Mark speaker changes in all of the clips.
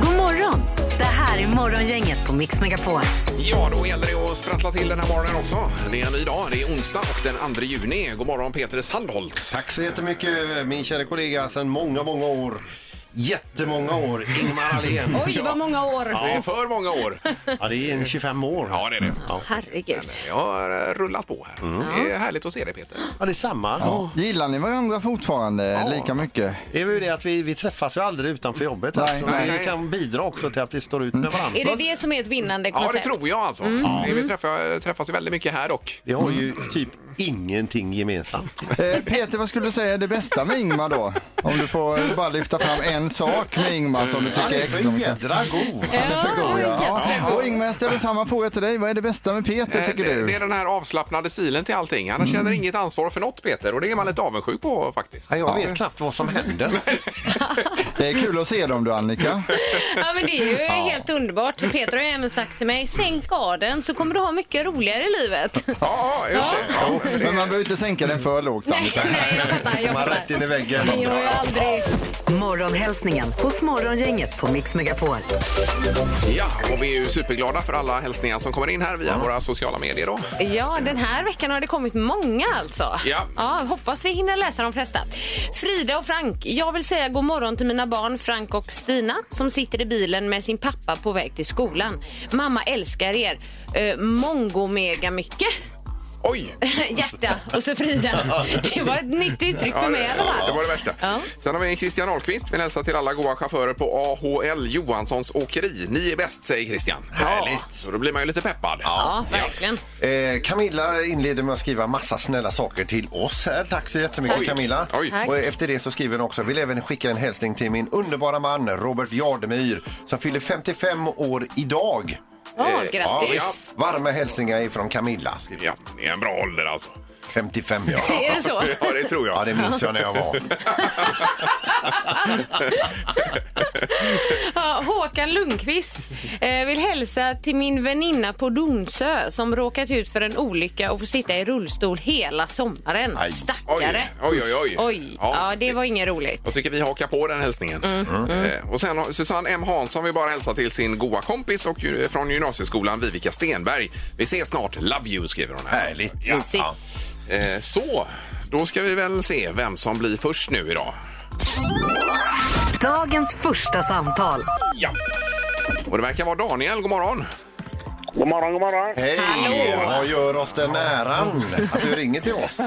Speaker 1: God morgon! Det här är Morgongänget på Mix Megapol.
Speaker 2: Ja, då gäller det att sprattla till den här morgonen också. Det är en ny dag, det är onsdag och den 2 juni. God morgon Peter Sandholt.
Speaker 3: Tack så jättemycket min kära kollega sedan många, många år. Jättemånga år, Ingmar Ahlén.
Speaker 4: Oj, vad många år!
Speaker 2: Ja, det är för många år.
Speaker 3: Ja, det är en 25 år.
Speaker 2: Ja, det är det. Ja.
Speaker 1: Herregud.
Speaker 2: Jag har eh, rullat på här. Det är härligt att se dig Peter.
Speaker 3: Mm. Ja, det är samma.
Speaker 5: Gillar ni varandra fortfarande lika mycket?
Speaker 3: Det är ju det att vi, vi träffas ju aldrig utanför jobbet.
Speaker 5: Nej,
Speaker 3: alltså.
Speaker 5: nej. Mm.
Speaker 3: Vi kan bidra också till att vi står ut med varandra. Mm.
Speaker 4: Är det det som är ett vinnande
Speaker 2: Ja,
Speaker 4: koncept?
Speaker 2: det tror jag alltså. Ja. Vi träffar, träffas ju väldigt mycket här dock.
Speaker 3: Vi har ju typ ingenting gemensamt.
Speaker 5: Eh, Peter, vad skulle du säga är det bästa med Ingmar då? Om du får eh, bara lyfta fram en sak med Ingmar som du tycker extra mycket
Speaker 3: jädra god.
Speaker 5: Han är för god, ja. ja. Och Ingmar, jag ställer samma fråga till dig. Vad är det bästa med Peter, tycker
Speaker 2: Eh, det, det är
Speaker 5: du?
Speaker 2: den här avslappnade stilen till allting. Han känner inget ansvar för något Peter och det är man lite avundsjuk på faktiskt.
Speaker 3: Mm. Ja, jag vet knappt vad som händer.
Speaker 5: Det är kul att se dem du, Annika.
Speaker 4: Ja, men det är ju helt underbart. Peter har ju även sagt till mig, sänk av den så kommer du ha mycket roligare i livet.
Speaker 2: Ja, just det. Ja, men
Speaker 5: Men man
Speaker 2: det.
Speaker 5: behöver inte sänka den för lågt,
Speaker 4: nej,
Speaker 5: Annika.
Speaker 4: nej, jag fattar. Jag
Speaker 3: Man
Speaker 4: fattar.
Speaker 3: rätt in i väggen.
Speaker 4: Nej, Jag har ju aldrig...
Speaker 1: Morgonhälsningen hos Morgongänget på Mix Megapol.
Speaker 2: Ja, och vi är ju superglada för alla hälsningar som kommer in här via våra sociala medier då.
Speaker 4: Ja, den här veckan har det kommit många alltså.
Speaker 2: Ja.
Speaker 4: hoppas vi hinner läsa de flesta. Frida och Frank, jag vill säga god morgon till mina barn Frank och Stina som sitter i bilen med sin pappa på väg till skolan. Mamma älskar er. Eh, mongo mega mycket.
Speaker 2: Oj!
Speaker 4: Hjärta och så Frida. Det var ett nytt uttryck för mig i alla
Speaker 2: det var
Speaker 4: fall.
Speaker 2: det värsta.
Speaker 4: Ja.
Speaker 2: Sen har vi Christian Ahlqvist. Vill hälsa till alla goa chaufförer på AHL Johanssons Åkeri. Ni är bäst, säger Christian. Härligt! Så då blir man ju lite peppad.
Speaker 4: Ja, verkligen.
Speaker 3: Eh, Camilla inleder med att skriva massa snälla saker till oss här. Tack så jättemycket
Speaker 2: Oj.
Speaker 3: Camilla.
Speaker 2: Oj. Tack.
Speaker 3: Och efter det så skriver hon också, vill även skicka en hälsning till min underbara man Robert Jardemyr som fyller 55 år idag. Eh,
Speaker 4: Ja,
Speaker 2: ja,
Speaker 4: grattis.
Speaker 2: ja.
Speaker 3: Varma hälsningar ifrån Camilla. skriver
Speaker 2: Ja, det är en bra ålder alltså.
Speaker 3: 55 ja.
Speaker 4: Är det så?
Speaker 2: Ja, det tror
Speaker 3: Ja,
Speaker 2: jag.
Speaker 3: det minns jag när jag var.
Speaker 4: Ja, Håkan Lundqvist eh, vill hälsa till min väninna på Donsö som råkat ut för en olycka och får sitta i rullstol hela sommaren. Stackare!
Speaker 2: Oj, oj, oj. oj.
Speaker 4: Oj, ja, Mm. det var inget roligt.
Speaker 2: Jag tycker vi hakar på den hälsningen. Eh, Och sen har Susanne M Hansson vill bara hälsa till sin goa kompis och ju- från gymnasieskolan Vivica Stenberg. Vi ses snart. Love you, skriver hon. Här.
Speaker 3: Härligt.
Speaker 2: Ja.
Speaker 4: Mysigt.
Speaker 2: Eh, Så, då ska vi väl se vem som blir först nu idag.
Speaker 1: Dagens första samtal.
Speaker 2: Ja. Och det verkar vara Daniel. God morgon.
Speaker 6: God morgon, god morgon.
Speaker 3: Hej! Vad gör oss den äran att du ringer till oss?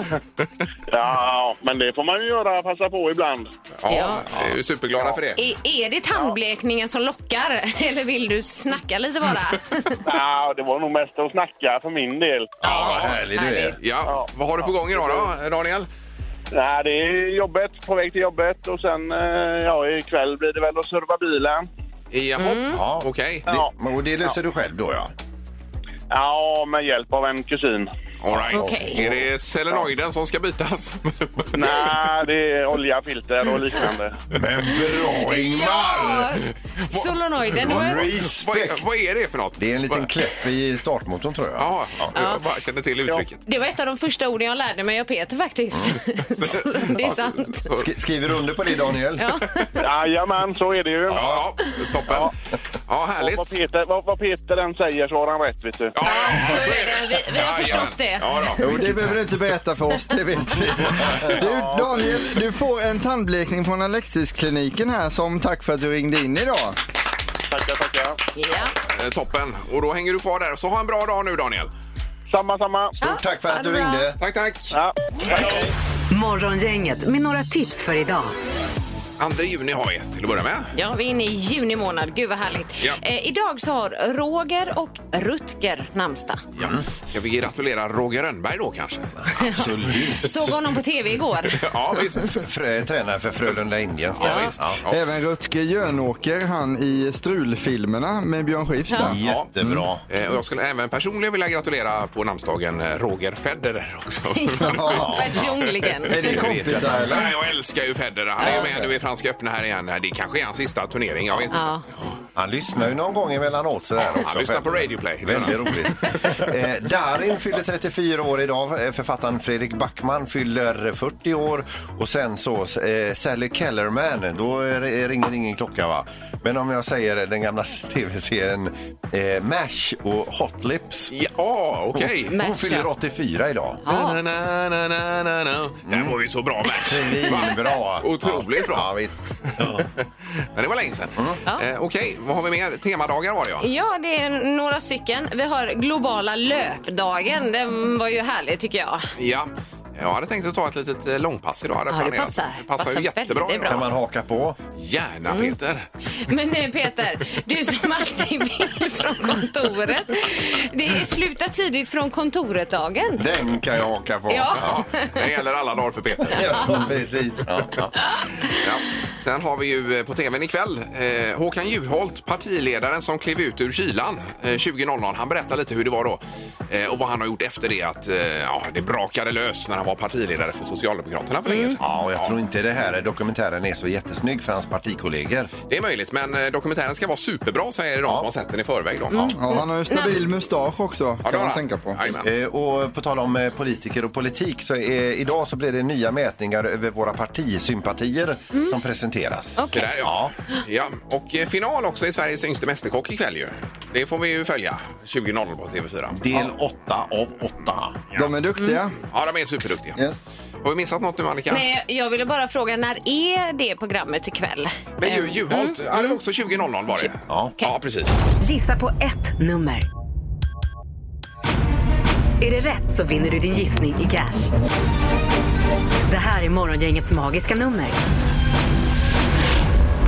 Speaker 6: Ja, men det får man ju göra. Passa på ibland.
Speaker 2: Ja,
Speaker 4: Ja.
Speaker 2: Vi är ju superglada för det.
Speaker 4: Är, är det tandblekningen som lockar eller vill du snacka lite bara?
Speaker 6: Ja, det var nog mest att snacka för min del.
Speaker 2: Ja,
Speaker 3: Vad härlig du är.
Speaker 2: Ja, vad har du på gång idag då, Daniel?
Speaker 6: Nej, det är jobbet, på väg till jobbet och sen eh, ja, ikväll blir det väl att serva bilen.
Speaker 2: Jaha,
Speaker 3: Ja.
Speaker 2: okej.
Speaker 6: Ja,
Speaker 3: Och det löser du själv då ja.
Speaker 6: ja med hjälp av en kusin.
Speaker 2: All right.
Speaker 4: Okej.
Speaker 2: Är det selenoiden som ska bytas?
Speaker 6: Nej, det är olja, filter och liknande.
Speaker 3: Men bra Ingmar!
Speaker 4: Ja! Solenoiden. det var-
Speaker 2: vad, är, vad är det för något?
Speaker 3: Det är en liten
Speaker 2: Vad-
Speaker 3: kläpp i startmotorn tror jag.
Speaker 2: Ja, jag bara känner till uttrycket.
Speaker 4: Det var ett av de första orden jag lärde mig av Peter faktiskt. Så det är sant.
Speaker 3: Sk- skriver du under på det Daniel?
Speaker 6: Jajamän, så är det ju.
Speaker 2: Ja, ja, toppen. Ja,
Speaker 6: Och vad,
Speaker 2: härligt.
Speaker 6: Peter, vad, vad Peter än säger så har han rätt, vet du.
Speaker 2: Ja, ja,
Speaker 4: Så är det. Vi, vi har förstått det.
Speaker 2: Ja, då.
Speaker 5: Jo, det behöver du inte berätta för oss, det vet vi. Du, Daniel, du får en tandblekning från Alexiskliniken här som tack för att du ringde in idag.
Speaker 6: Tackar, tackar.
Speaker 4: Ja.
Speaker 2: Eh, Toppen. Och då hänger du kvar där. Så ha en bra dag nu, Daniel.
Speaker 6: Samma, samma.
Speaker 3: Stort tack för
Speaker 4: Ja,
Speaker 3: att du
Speaker 4: det är bra.
Speaker 3: ringde.
Speaker 2: Tack, tack.
Speaker 6: Ja, tack.
Speaker 1: Morgongänget med några tips för idag.
Speaker 2: 2 juni har vi till att börja med.
Speaker 4: Ja, vi är inne i juni månad. Gud vad härligt.
Speaker 2: Ja.
Speaker 4: Eh, idag så har Roger och Rutger namnsdag.
Speaker 2: Ja. Ska vi gratulera Roger Rönnberg då kanske?
Speaker 3: Absolut.
Speaker 4: Såg honom på tv igår.
Speaker 2: Ja, visst.
Speaker 3: Frö, tränare för Frölunda Indiens.
Speaker 2: Ja, visst. Ja.
Speaker 5: Även Rutger Jönåker, han i Strulfilmerna med Björn Skifs där.
Speaker 3: Jättebra.
Speaker 2: Eh, Och jag skulle även personligen vilja gratulera på namnsdagen eh, Roger Federer också.
Speaker 4: Personligen.
Speaker 5: Är det kompisar eller?
Speaker 2: Nej, jag älskar ju Federer. Han är ju med nu i Franska öppna här igen. Det kanske är hans sista turnering. Jag vet inte.
Speaker 4: Ja.
Speaker 3: Han lyssnar ju någon gång emellanåt. Sådär också.
Speaker 2: han lyssnar på Radio Play.
Speaker 3: Väldigt roligt. eh, Darin fyller 34 år idag. Eh, Författaren Fredrik Backman fyller 40 år. Och sen så eh, Sally Kellerman. Då eh, ringer ingen klocka va? Men om jag säger den gamla tv-serien eh, MASH och Hot Lips.
Speaker 2: Ja, ah, okej.
Speaker 3: Hon, hon
Speaker 4: MASH,
Speaker 3: fyller
Speaker 4: ja.
Speaker 3: 84 idag.
Speaker 4: Ja.
Speaker 2: Na, na, na, na, na, na. Den var ju så bra med.
Speaker 3: Mm. Svinbra!
Speaker 2: Otroligt bra.
Speaker 3: Ja, visst.
Speaker 2: Men det var länge sedan.
Speaker 4: Ja.
Speaker 2: Eh, Okej, vad har vi mer? Temadagar var det ja.
Speaker 4: Ja, det är några stycken. Vi har globala löpdagen. Den var ju härlig tycker jag.
Speaker 2: ja. Jag hade tänkt att ta ett litet eh, långpass idag. Hade jag
Speaker 4: Ja, det
Speaker 2: planerat.
Speaker 4: passar.
Speaker 2: Det passar,
Speaker 4: Passar
Speaker 2: ju jättebra
Speaker 4: väldigt Mm.
Speaker 2: idag.
Speaker 3: Kan man haka på?
Speaker 2: Gärna Peter.
Speaker 4: Men eh, Peter, du som alltid vill från kontoret. Det är sluta tidigt från kontoret-dagen.
Speaker 3: Den kan jag haka på.
Speaker 4: Ja.
Speaker 2: Det gäller alla dagar för Peter.
Speaker 3: Ja, precis. Ja, ja.
Speaker 2: Ja. Sen har vi ju eh, på tvn ikväll eh, Håkan Juholt, partiledaren som klev ut ur kylan eh, 20.00. Han berättar lite hur det var då eh, och vad han har gjort efter det att eh, ja, det brakade lös när han var partiledare för Socialdemokraterna för länge sedan.
Speaker 3: Mm. Ja, och jag tror inte det här dokumentären är så jättesnygg för hans partikollegor.
Speaker 2: Det är möjligt, men eh, dokumentären ska vara superbra säger de som har sett den i förväg. Då.
Speaker 3: Mm.
Speaker 2: Ja.
Speaker 5: Ja, han har ju stabil mustasch också,
Speaker 2: Ja, det
Speaker 5: kan
Speaker 2: har
Speaker 5: man
Speaker 2: han.
Speaker 5: tänka på.
Speaker 2: Jajamän.
Speaker 3: Eh, och på tal om eh, politiker och politik så är, idag så blir det nya mätningar över våra partisympatier som presenteras.
Speaker 2: Så
Speaker 4: Mm. Okej.
Speaker 2: där, ja. ja. Och eh, final också i Sveriges yngste mästerkock ikväll ju. Det får vi ju följa 20.00 på TV4.
Speaker 3: Del 8 av 8.
Speaker 5: De är duktiga.
Speaker 2: Mm. Ja, de är superduktiga.
Speaker 5: Yes.
Speaker 2: Har vi missat något nu Annika?
Speaker 4: Nej, jag ville bara fråga, när är det programmet ikväll?
Speaker 2: Men ju,
Speaker 4: Mm.
Speaker 2: Juholt, ja, det var också 20.00 var det.
Speaker 3: Ja.
Speaker 2: ja, precis.
Speaker 1: Gissa på ett nummer. Är det rätt så vinner du din gissning i cash. Det här är Morgongängets magiska nummer.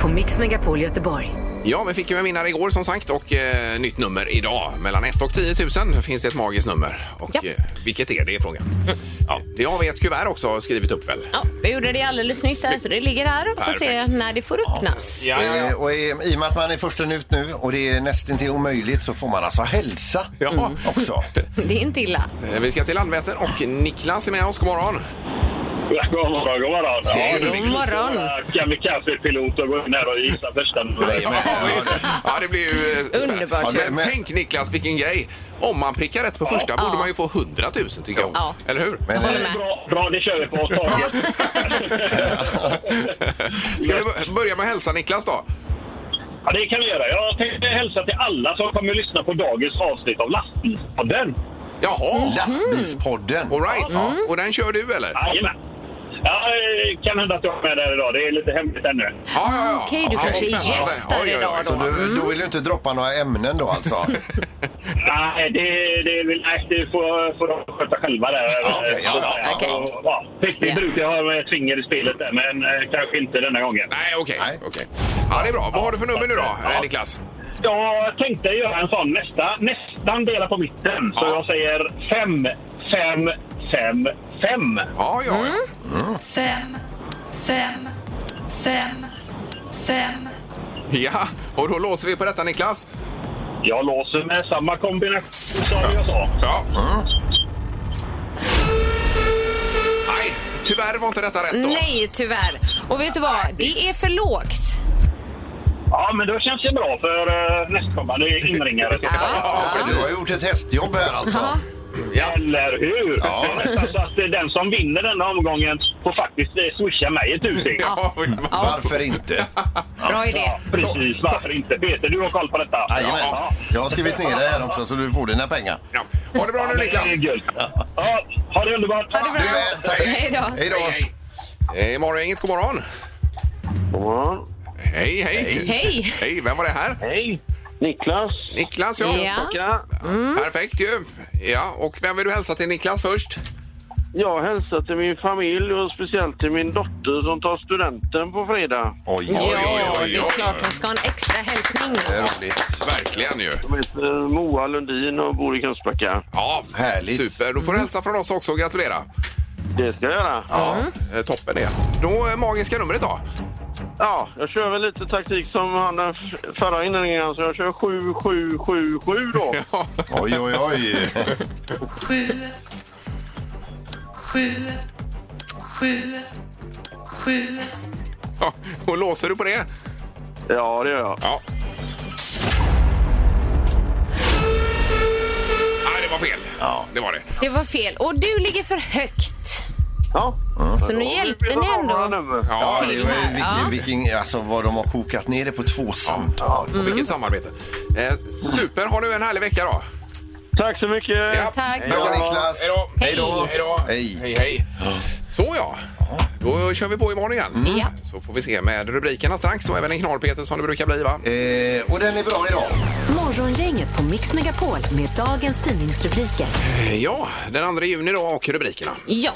Speaker 1: På Mix Megapol Göteborg.
Speaker 2: Ja, vi fick ju en vinnare igår som sagt och eh, nytt nummer idag. Mellan 1 och 10 000 finns det ett magiskt nummer. Och
Speaker 4: Ja. Mm.
Speaker 2: eh, vilket är det är frågan. Ja, det har vi ett kuvert också skrivit upp väl?
Speaker 4: Ja, vi gjorde det alldeles nyss här, så det ligger här och får se
Speaker 2: Perfekt.
Speaker 4: när det får öppnas.
Speaker 2: Ja, ja, ja.
Speaker 3: Eh, och i, I och med att man är försten ut nu och det är nästintill omöjligt så får man alltså hälsa Mm.
Speaker 2: Ja.
Speaker 3: också.
Speaker 4: Det är inte illa.
Speaker 2: Eh, Vi ska till Landvetter och Niklas är med oss. God morgon!
Speaker 6: God morgon, god morgon.
Speaker 2: Hej då,
Speaker 4: God
Speaker 2: Niklas.
Speaker 4: morgon.
Speaker 6: Kan vi kaffepilot och gå in här och gissa första numret?
Speaker 2: Ja, visst. ja, det blir ju eh, spännande.
Speaker 4: Underbart
Speaker 2: Ja,
Speaker 3: ju.
Speaker 2: men, tänk Niklas, vilken grej! Om man prickar rätt på första borde
Speaker 4: Ja.
Speaker 2: man ju få 100 000 tycker jag.
Speaker 4: Ja.
Speaker 2: Eller hur?
Speaker 3: Men,
Speaker 4: Håller
Speaker 3: eh,
Speaker 4: med.
Speaker 6: Bra, bra, det kör vi på. Taget.
Speaker 2: Ska vi bör- börja med att hälsa Niklas då?
Speaker 6: Ja, det kan vi göra. Jag tänkte hälsa till alla som kommer att lyssna på dagens avsnitt av Lastbilspodden. Mm.
Speaker 2: Jaha!
Speaker 3: Lastbilspodden.
Speaker 2: All right. Och den kör du eller? Ja,
Speaker 6: Jajamän. Ja, det kan hända att jag är med där idag. Det är lite hemligt ännu.
Speaker 2: ja, ja.
Speaker 4: Mm, Okej, du kanske är
Speaker 2: spännande.
Speaker 4: gäst där
Speaker 2: Oj, oj, oj.
Speaker 4: idag Mm.
Speaker 3: Så du, då vill du inte droppa några ämnen då alltså?
Speaker 6: Nej, det, det, vill- nej, det får, får de sköta själva där. Alltså,
Speaker 3: Ja, okej, ja, ja, ja.
Speaker 4: Okej.
Speaker 6: ja. Pippi
Speaker 4: Ja.
Speaker 6: brukar ha ett finger i spelet där, men eh, kanske inte denna gången.
Speaker 2: Nej, okej.
Speaker 3: Nej.
Speaker 2: okej. Ja, det är bra. Vad har du för nummer nu då, eh, Niklas?
Speaker 6: Jag tänkte göra en sån nästa, nästan dela på mitten. Så
Speaker 2: Ja.
Speaker 6: jag säger fem, fem, fem, fem.
Speaker 2: Ja, ja.
Speaker 7: Mm. Fem, fem, fem, fem.
Speaker 2: Ja, och då låser vi på detta, Niklas.
Speaker 6: Jag låser med samma kombination som jag sa.
Speaker 2: Ja. Nej, tyvärr var inte detta rätt då.
Speaker 4: Nej, tyvärr. Och vet du vad? Det är för lågt.
Speaker 6: Ja, men då känns det bra för eh, nästkommande inringare.
Speaker 3: Du
Speaker 2: Ja,
Speaker 3: har
Speaker 2: precis.
Speaker 3: gjort ett hästjobb här alltså.
Speaker 4: Ja.
Speaker 2: Ja.
Speaker 6: Eller hur?
Speaker 3: Ja.
Speaker 6: Det är nästan så att eh, den som vinner denna omgången får faktiskt eh, swisha mig ett tusing.
Speaker 2: Ja,
Speaker 3: Varför inte?
Speaker 4: Bra idé.
Speaker 6: Ja, precis. Varför inte? Peter, du har koll på detta.
Speaker 3: Jajamän. Jag har skrivit ner det här också så du får dina pengar.
Speaker 2: ja. Ha det bra nu, Niklas.
Speaker 6: Det är guld. Ja, ha det underbart.
Speaker 4: Ha det bra.
Speaker 3: Du med, tack.
Speaker 4: Hej då.
Speaker 3: Hej då.
Speaker 2: Hej, hej. Eh, Imorgon, inget god morgon.
Speaker 6: God morgon.
Speaker 2: Hej, hej.
Speaker 4: Hej.
Speaker 2: Hej, vem var det här?
Speaker 6: Hej. Niklas.
Speaker 2: Niklas, ja. Mm.
Speaker 4: Ja.
Speaker 2: Perfekt ju. Ja, och vem vill du hälsa till Niklas först?
Speaker 6: Jag hälsar till min familj och speciellt till min dotter som tar studenten på fredag.
Speaker 3: Oj,
Speaker 4: Ja,
Speaker 3: oj, oj.
Speaker 4: det är klart hon ska ha en extra hälsning.
Speaker 3: Det är roligt.
Speaker 2: Verkligen ju.
Speaker 6: Hon heter Moa Lundin och bor i Kungsbacka.
Speaker 2: Ja,
Speaker 3: Härligt.
Speaker 2: Super. Då får du hälsa från oss också och gratulera.
Speaker 6: Det ska jag göra.
Speaker 2: Ja, eh, toppen det. Då eh, magiska numret då.
Speaker 6: Ja, jag kör väl lite taktik som han den f- förra inringaren, så jag kör 7777 då.
Speaker 3: Oj, oj, oj.
Speaker 7: sju, sju, sju, sju.
Speaker 2: Ja, och låser du på det?
Speaker 6: Ja, det gör jag.
Speaker 2: Ja. Nej, det var fel. Ja, det var det.
Speaker 4: Det var fel. Och du ligger för högt.
Speaker 6: Ja.
Speaker 4: Så nu hjälpte ni ändå.
Speaker 6: Ja.
Speaker 2: Ja,
Speaker 3: Ja,
Speaker 2: det-
Speaker 3: det
Speaker 4: till
Speaker 3: var
Speaker 4: här,
Speaker 3: ju
Speaker 4: ja.
Speaker 3: vilken, vilken, alltså vad de har kokat ner det på två samtal.
Speaker 2: och
Speaker 4: Mm.
Speaker 2: vilket samarbete. Eh, super. Ha nu en härlig vecka då.
Speaker 6: Tack så mycket!
Speaker 4: Tack.
Speaker 2: Hej
Speaker 3: Bra
Speaker 2: då.
Speaker 3: Niklas!
Speaker 2: Hej då.
Speaker 3: Hej då!
Speaker 2: Hej då.
Speaker 3: Hej.
Speaker 2: Hej, hej. Så ja. Då kör vi på imorgon igen.
Speaker 4: Ja.
Speaker 2: Så får vi se med rubrikerna strax och även en knallpeter som det brukar bli va?
Speaker 3: Eh, och den är bra idag.
Speaker 1: Morgongänget på Mix Megapol med dagens tidningsrubriker.
Speaker 2: Eh, Ja, den 2 juni då och rubrikerna.
Speaker 4: Ja,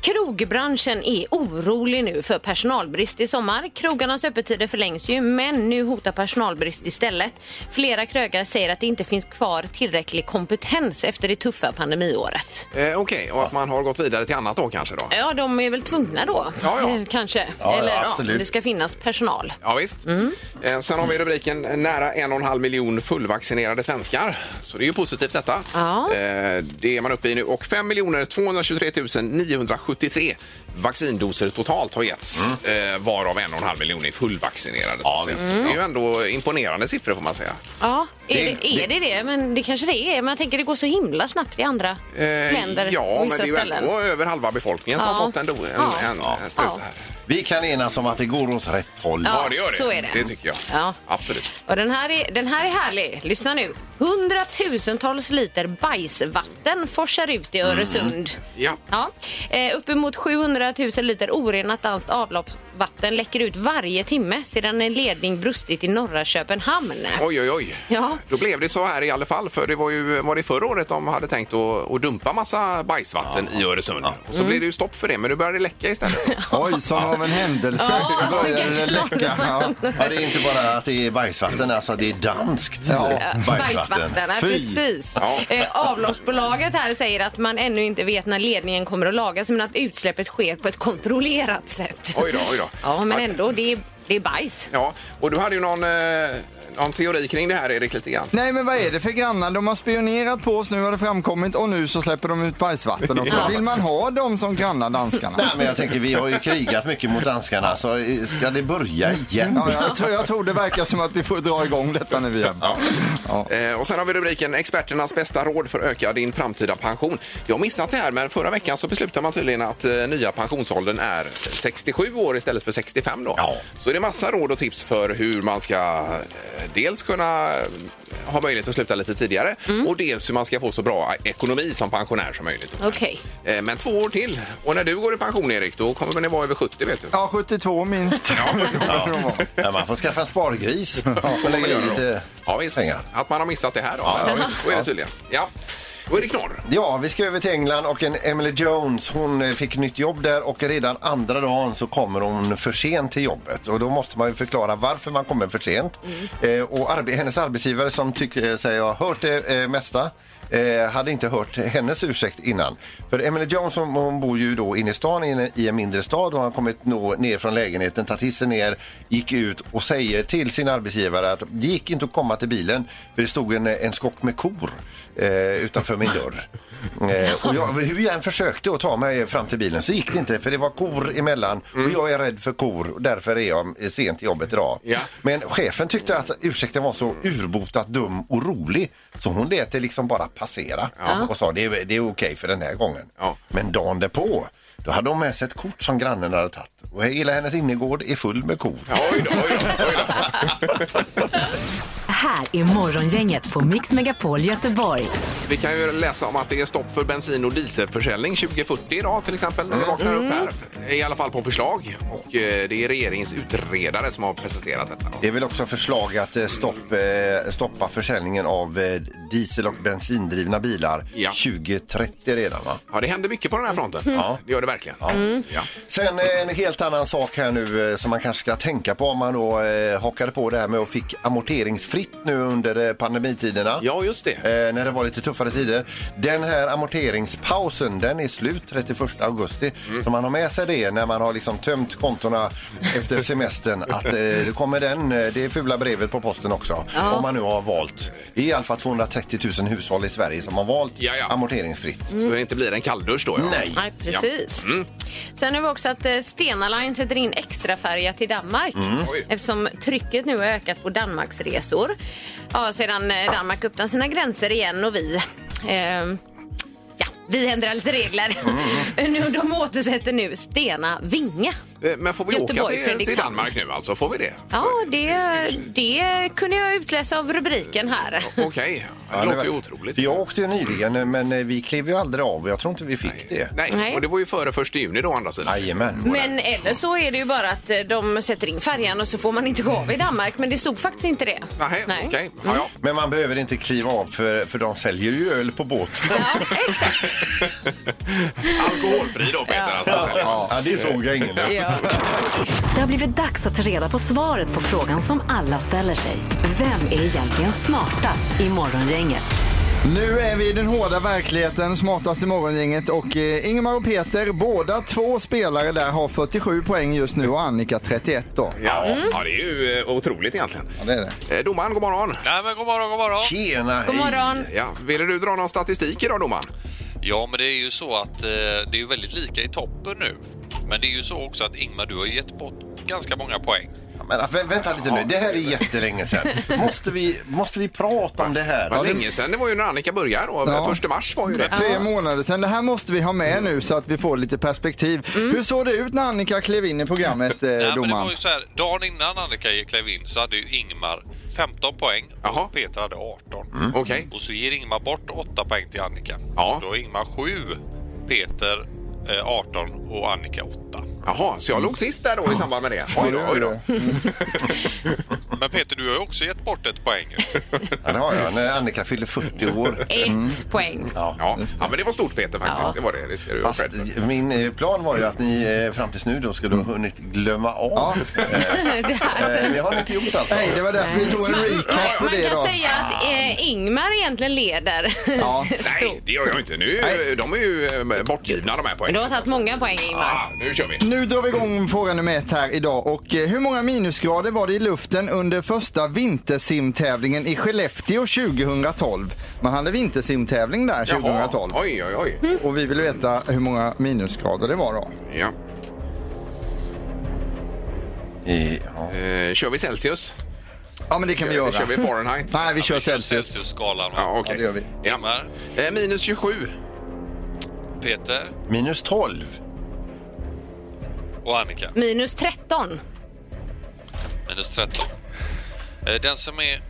Speaker 4: krogbranschen är orolig nu för personalbrist i sommar. Krogarnas öppettider förlängs ju, men nu hotar personalbrist istället. Flera krögare säger att det inte finns kvar tillräcklig kompetens efter det tuffa pandemiåret.
Speaker 2: Eh, Okej, och att man har gått vidare till annat då kanske då?
Speaker 4: Ja, de är väl tvungna då,
Speaker 2: Ja, ja.
Speaker 4: eh, kanske.
Speaker 3: Ja, ja,
Speaker 4: Eller
Speaker 3: absolut.
Speaker 4: det ska finnas personal.
Speaker 2: Ja, visst.
Speaker 4: Mm.
Speaker 2: Eh, sen har vi rubriken nära en och en halv miljon fullvaccinerade svenskar. Så det är ju positivt detta.
Speaker 4: Ja.
Speaker 2: Eh, det är man uppe i nu. Och 5 223 973 vaccindoser totalt har getts. Eh, varav en och en halv miljon är fullvaccinerade. Ja, Det är ju ändå imponerande siffror får man säga.
Speaker 4: Ja, är det
Speaker 3: Det-
Speaker 4: det, är det, det? Men det kanske det är. Men jag tänker det går så himla snabbt i andra
Speaker 2: Eh,
Speaker 4: länder
Speaker 2: ja,
Speaker 4: och
Speaker 2: men det
Speaker 4: vissa
Speaker 2: är ju
Speaker 4: ställen.
Speaker 2: ändå över halva befolkningen som
Speaker 4: Ja.
Speaker 2: har fått en, do, en,
Speaker 4: Ja.
Speaker 2: en, en spruta
Speaker 4: Ja.
Speaker 2: här.
Speaker 3: Vi kan enas om att det går åt rätt håll.
Speaker 2: Ja,
Speaker 4: Ja,
Speaker 2: det gör det.
Speaker 4: så är det.
Speaker 2: Det tycker jag.
Speaker 4: Ja.
Speaker 2: Absolut.
Speaker 4: Och den, här är, den här är härlig. Lyssna nu. Hundratusentals liter bajsvatten forsar ut i Öresund.
Speaker 2: Ja.
Speaker 4: Ja. Eh, uppemot 700 000 liter orenat danskt avloppsvatten läcker ut varje timme sedan en ledning brustit i norra Köpenhamn.
Speaker 2: Oj, oj, oj.
Speaker 4: Ja.
Speaker 2: Då blev det så här i alla fall. För det var ju var det förra året de hade tänkt att, att dumpa massa bajsvatten i Öresund. Och så
Speaker 4: Mm.
Speaker 2: blev det ju stopp för det, men nu börjar det läcka istället.
Speaker 5: Oj, som av en händelse
Speaker 4: Ja,
Speaker 5: började det
Speaker 4: vilken
Speaker 5: läcka. Ja.
Speaker 3: Ja, det är inte bara att det är bajsvatten, alltså det är danskt
Speaker 4: Bergsvatten, nej,
Speaker 3: Fy.
Speaker 4: Eh, precis.
Speaker 2: Ja.
Speaker 4: Eh, avloppsbolaget här säger att man ännu inte vet när ledningen kommer att lagas men att utsläppet sker på ett kontrollerat sätt.
Speaker 2: Oj då, oj då.
Speaker 4: Ja, men ändå, det är, det är bajs.
Speaker 2: Ja, och du hade ju någon, eh, någon teori kring det här, Erik, lite grann.
Speaker 5: Nej men vad är det för grannar? De har spionerat på oss, nu har det framkommit och nu så släpper de ut bajsvatten också. Vill man ha dem som grannar danskarna?
Speaker 3: Nej, men jag tänker vi har ju krigat mycket mot danskarna så eh, ska det börja igen?
Speaker 5: Ja, jag, tror, jag tror det verkar som att vi får dra igång detta nu igen.
Speaker 2: Eh, och sen har vi rubriken Experternas bästa råd för att öka din framtida pension. Jag har missat det här, men förra veckan så beslutade man tydligen att eh, nya pensionsåldern är 67 år istället för 65 då.
Speaker 3: Ja.
Speaker 2: Så det är massa råd och tips för hur man ska eh, dels kunna eh, ha möjlighet att sluta lite tidigare
Speaker 5: Mm.
Speaker 2: och dels hur man ska få så bra ekonomi som pensionär som möjligt.
Speaker 4: Okej.
Speaker 2: Eh, men två år till. Och när du går i pension, Erik, då kommer ni vara över 70, vet du.
Speaker 5: Ja, 72 minst.
Speaker 3: Ja. Ja, man får skaffa en spargris och lägga in lite
Speaker 2: Ja, visst.
Speaker 3: pengar.
Speaker 2: Att man har missat det här då.
Speaker 3: Ja, ja, visst.
Speaker 2: så är det tydligen. Ja. Då är det knorr.
Speaker 3: Ja, vi ska över till England och en Emily Jones, hon eh, fick nytt jobb där och redan andra dagen så kommer hon för sent till jobbet och då måste man ju förklara varför man kommer för sent. Eh, och arbe- hennes arbetsgivare som tycker eh, säger jag har hört det eh, mesta eh, hade inte hört hennes ursäkt innan. För Emily Jones hon, hon bor ju då inne i stan i en, i en mindre stad och har kommit nå, ner från lägenheten, tagit hissen ner, gick ut och säger till sin arbetsgivare att det gick inte att komma till bilen för det stod en, en skock med kor eh, utanför min dörr. Eh, och jag, hur jag än försökte att ta mig fram till bilen så gick det inte för det var kor emellan och jag är rädd för kor och därför är jag sent till jobbet idag.
Speaker 2: Ja.
Speaker 3: Men chefen tyckte att ursäkten var så urbotat dum och rolig så hon lät det liksom bara passera och sa det är, det är okej för den här gången.
Speaker 2: Ja.
Speaker 3: Men dagen därpå då hade hon med sig ett kort som grannen hade tagit och hela hennes innergård är full med kor.
Speaker 2: Ja, Oj då, oj då, oj då.
Speaker 1: Det här här är Morgongänget på Mix Megapol Göteborg.
Speaker 2: Vi kan ju läsa om att det är stopp för bensin och dieselförsäljning 2040 idag till exempel när
Speaker 3: Mm.
Speaker 2: vi vaknar upp här. I alla fall på förslag och eh, det är regeringens utredare som har presenterat detta.
Speaker 3: Det är väl också förslag att eh, stopp, eh, stoppa försäljningen av eh, diesel och bensindrivna bilar
Speaker 2: Ja.
Speaker 3: 2030 redan va?
Speaker 2: Ja, det händer mycket på den här fronten.
Speaker 3: Mm. Ja.
Speaker 2: Det gör det verkligen. Mm. Ja.
Speaker 3: Sen eh, en helt annan sak här nu eh, som man kanske ska tänka på om man då eh, hakade på det här med och fick amorteringsfritt nu under eh, pandemitiderna.
Speaker 2: ja, just det.
Speaker 3: Eh, när det var lite tuffare tider. Den här amorteringspausen den är slut 31 augusti.
Speaker 2: Mm.
Speaker 3: Så man har med sig det när man har liksom tömt kontona efter semestern. Att eh, det kommer den, eh, det fula brevet på posten också. Om man nu har valt. Det är i alla fall 230 000 hushåll i Sverige som har valt
Speaker 2: Ja, ja.
Speaker 3: amorteringsfritt.
Speaker 2: Så det inte blir en kalldusch då. Ja. Mm. Nej.
Speaker 4: Nej, precis. Sen har vi också att eh, Stena Line sätter in extra färja till Danmark
Speaker 2: Oj.
Speaker 4: eftersom trycket nu har ökat på Danmarks resor. Ja, sedan eh, Danmark öppnade sina gränser igen och vi ehm, Ja, vi ändrar lite regler.
Speaker 2: Mm.
Speaker 4: nu, de återsätter nu Stena Vinge.
Speaker 2: Eh, Men får vi
Speaker 4: Göteborg,
Speaker 2: åka till, till
Speaker 4: Fredrikshamn.
Speaker 2: Danmark nu alltså? Får vi det?
Speaker 4: Ja, det, det kunde jag utläsa av rubriken här.
Speaker 2: Okej, det låter ju
Speaker 3: var-
Speaker 2: otroligt.
Speaker 3: Jag åkte ju nyligen men eh, vi klev ju aldrig av och jag tror inte vi fick det.
Speaker 2: Nej.
Speaker 4: Nej.
Speaker 2: och det var ju före första juni då å andra sidan.
Speaker 3: Jajamän.
Speaker 4: Men eller så är det ju bara att eh, de sätter in färjan och så får man inte gå av i Danmark. Men det stod faktiskt inte det.
Speaker 2: Nej, okej. Ja, ja.
Speaker 3: Men man behöver inte kliva av för, för de säljer ju öl på båten.
Speaker 4: Ja, exakt.
Speaker 2: Alkoholfri då Peter. Alltså,
Speaker 3: Ja, det frågar ingen.
Speaker 4: Ja.
Speaker 1: Det har blivit dags att ta reda på svaret på frågan som alla ställer sig. Vem är egentligen smartast i Morgongänget?
Speaker 5: Nu är vi i den hårda verkligheten, smartaste morgongänget och eh, Ingmar och Peter, båda två spelare där har 47 poäng just nu och Annika 31 då.
Speaker 2: Ja,
Speaker 3: Mm.
Speaker 2: ja, det är ju eh, otroligt egentligen.
Speaker 5: Ja, det är det.
Speaker 2: Eh, Domaren, god morgon.
Speaker 7: Nej men god morgon, god morgon.
Speaker 3: Tjena,
Speaker 4: God
Speaker 3: hej.
Speaker 4: morgon.
Speaker 2: Ja, ville du dra någon statistik idag domaren?
Speaker 7: Ja men det är ju så att eh, det är ju väldigt lika i toppen nu. Men det är ju så också att Ingmar du har ju gett bort ganska många poäng.
Speaker 3: Men, alltså, vä- vänta lite nu, det här är jättelänge sedan. Måste vi, måste vi prata om det här?
Speaker 2: Det var länge sedan, det var ju när Annika började då.
Speaker 5: Ja.
Speaker 2: Första mars var ju det.
Speaker 5: Tre månader sedan. Det här måste vi ha
Speaker 7: Mm.
Speaker 5: med nu så att vi får lite perspektiv. Hur såg det ut när Annika klev in i programmet, eh,
Speaker 7: Nej, Mm. men det
Speaker 5: domaren?
Speaker 7: var ju så här, dagen innan Annika klev in så hade ju Ingmar 15 poäng
Speaker 2: Jaha. Mm,
Speaker 7: och Peter hade 18.
Speaker 2: Okej.
Speaker 7: Och så ger Ingmar bort 8 poäng till Annika.
Speaker 2: Ja.
Speaker 7: Då har Ingmar 7, Peter eh, 18 och Annika 8.
Speaker 2: Jaha, så jag låg sist där då i samband med det. Oj då, oj då.
Speaker 3: Mm.
Speaker 7: Men Peter, du har ju också gett bort ett poäng. ju.
Speaker 3: Ja, det har jag. När Annika fyller 40 år. Mm.
Speaker 4: Ett poäng.
Speaker 2: Ja. ja, men det var stort Peter faktiskt. Det var det. Det ska du ha
Speaker 3: Fast
Speaker 2: cred för.
Speaker 3: min eh, plan var ju att ni eh, fram tills nu då skulle ha hunnit glömma av.
Speaker 4: Det här.
Speaker 3: Eh, Det har ni inte gjort alltså?
Speaker 5: Nej, det var därför vi tog en recap på
Speaker 4: Man
Speaker 5: det
Speaker 4: kan
Speaker 5: då.
Speaker 4: säga att eh, Ingmar egentligen leder.
Speaker 5: Ja.
Speaker 2: Nej, det gör jag inte. Nu, de är ju eh, bortgivna de
Speaker 4: Men
Speaker 2: här
Speaker 4: Du
Speaker 2: poängen.
Speaker 4: har tagit många poäng Ingmar.
Speaker 2: Ah, nu kör vi.
Speaker 5: Nu drar vi igång fråga nummer ett här idag. Och eh, hur många minusgrader var det i luften under första vintersimtävlingen i Skellefteå 2012? Man hade vintersimtävling där 2012.
Speaker 2: Jaha. Oj, oj, oj.
Speaker 5: Och vi vill veta hur många minusgrader det var då.
Speaker 2: Ja.
Speaker 3: I- ja.
Speaker 2: Eh, kör vi Celsius? Eh,
Speaker 5: Ja, men det kan vi göra.
Speaker 2: Kör vi Fahrenheit?
Speaker 5: Nej, vi kör Celsius.
Speaker 7: Celsius-skalan. va?
Speaker 2: Ja,
Speaker 5: Ja,
Speaker 2: okej.
Speaker 5: det gör vi.
Speaker 2: Ja.
Speaker 7: Ingmar,
Speaker 2: Eh, minus 27.
Speaker 7: Peter
Speaker 3: Minus 12.
Speaker 7: och Annika.
Speaker 4: Minus 13.
Speaker 7: Minus 13. Eh, Den som är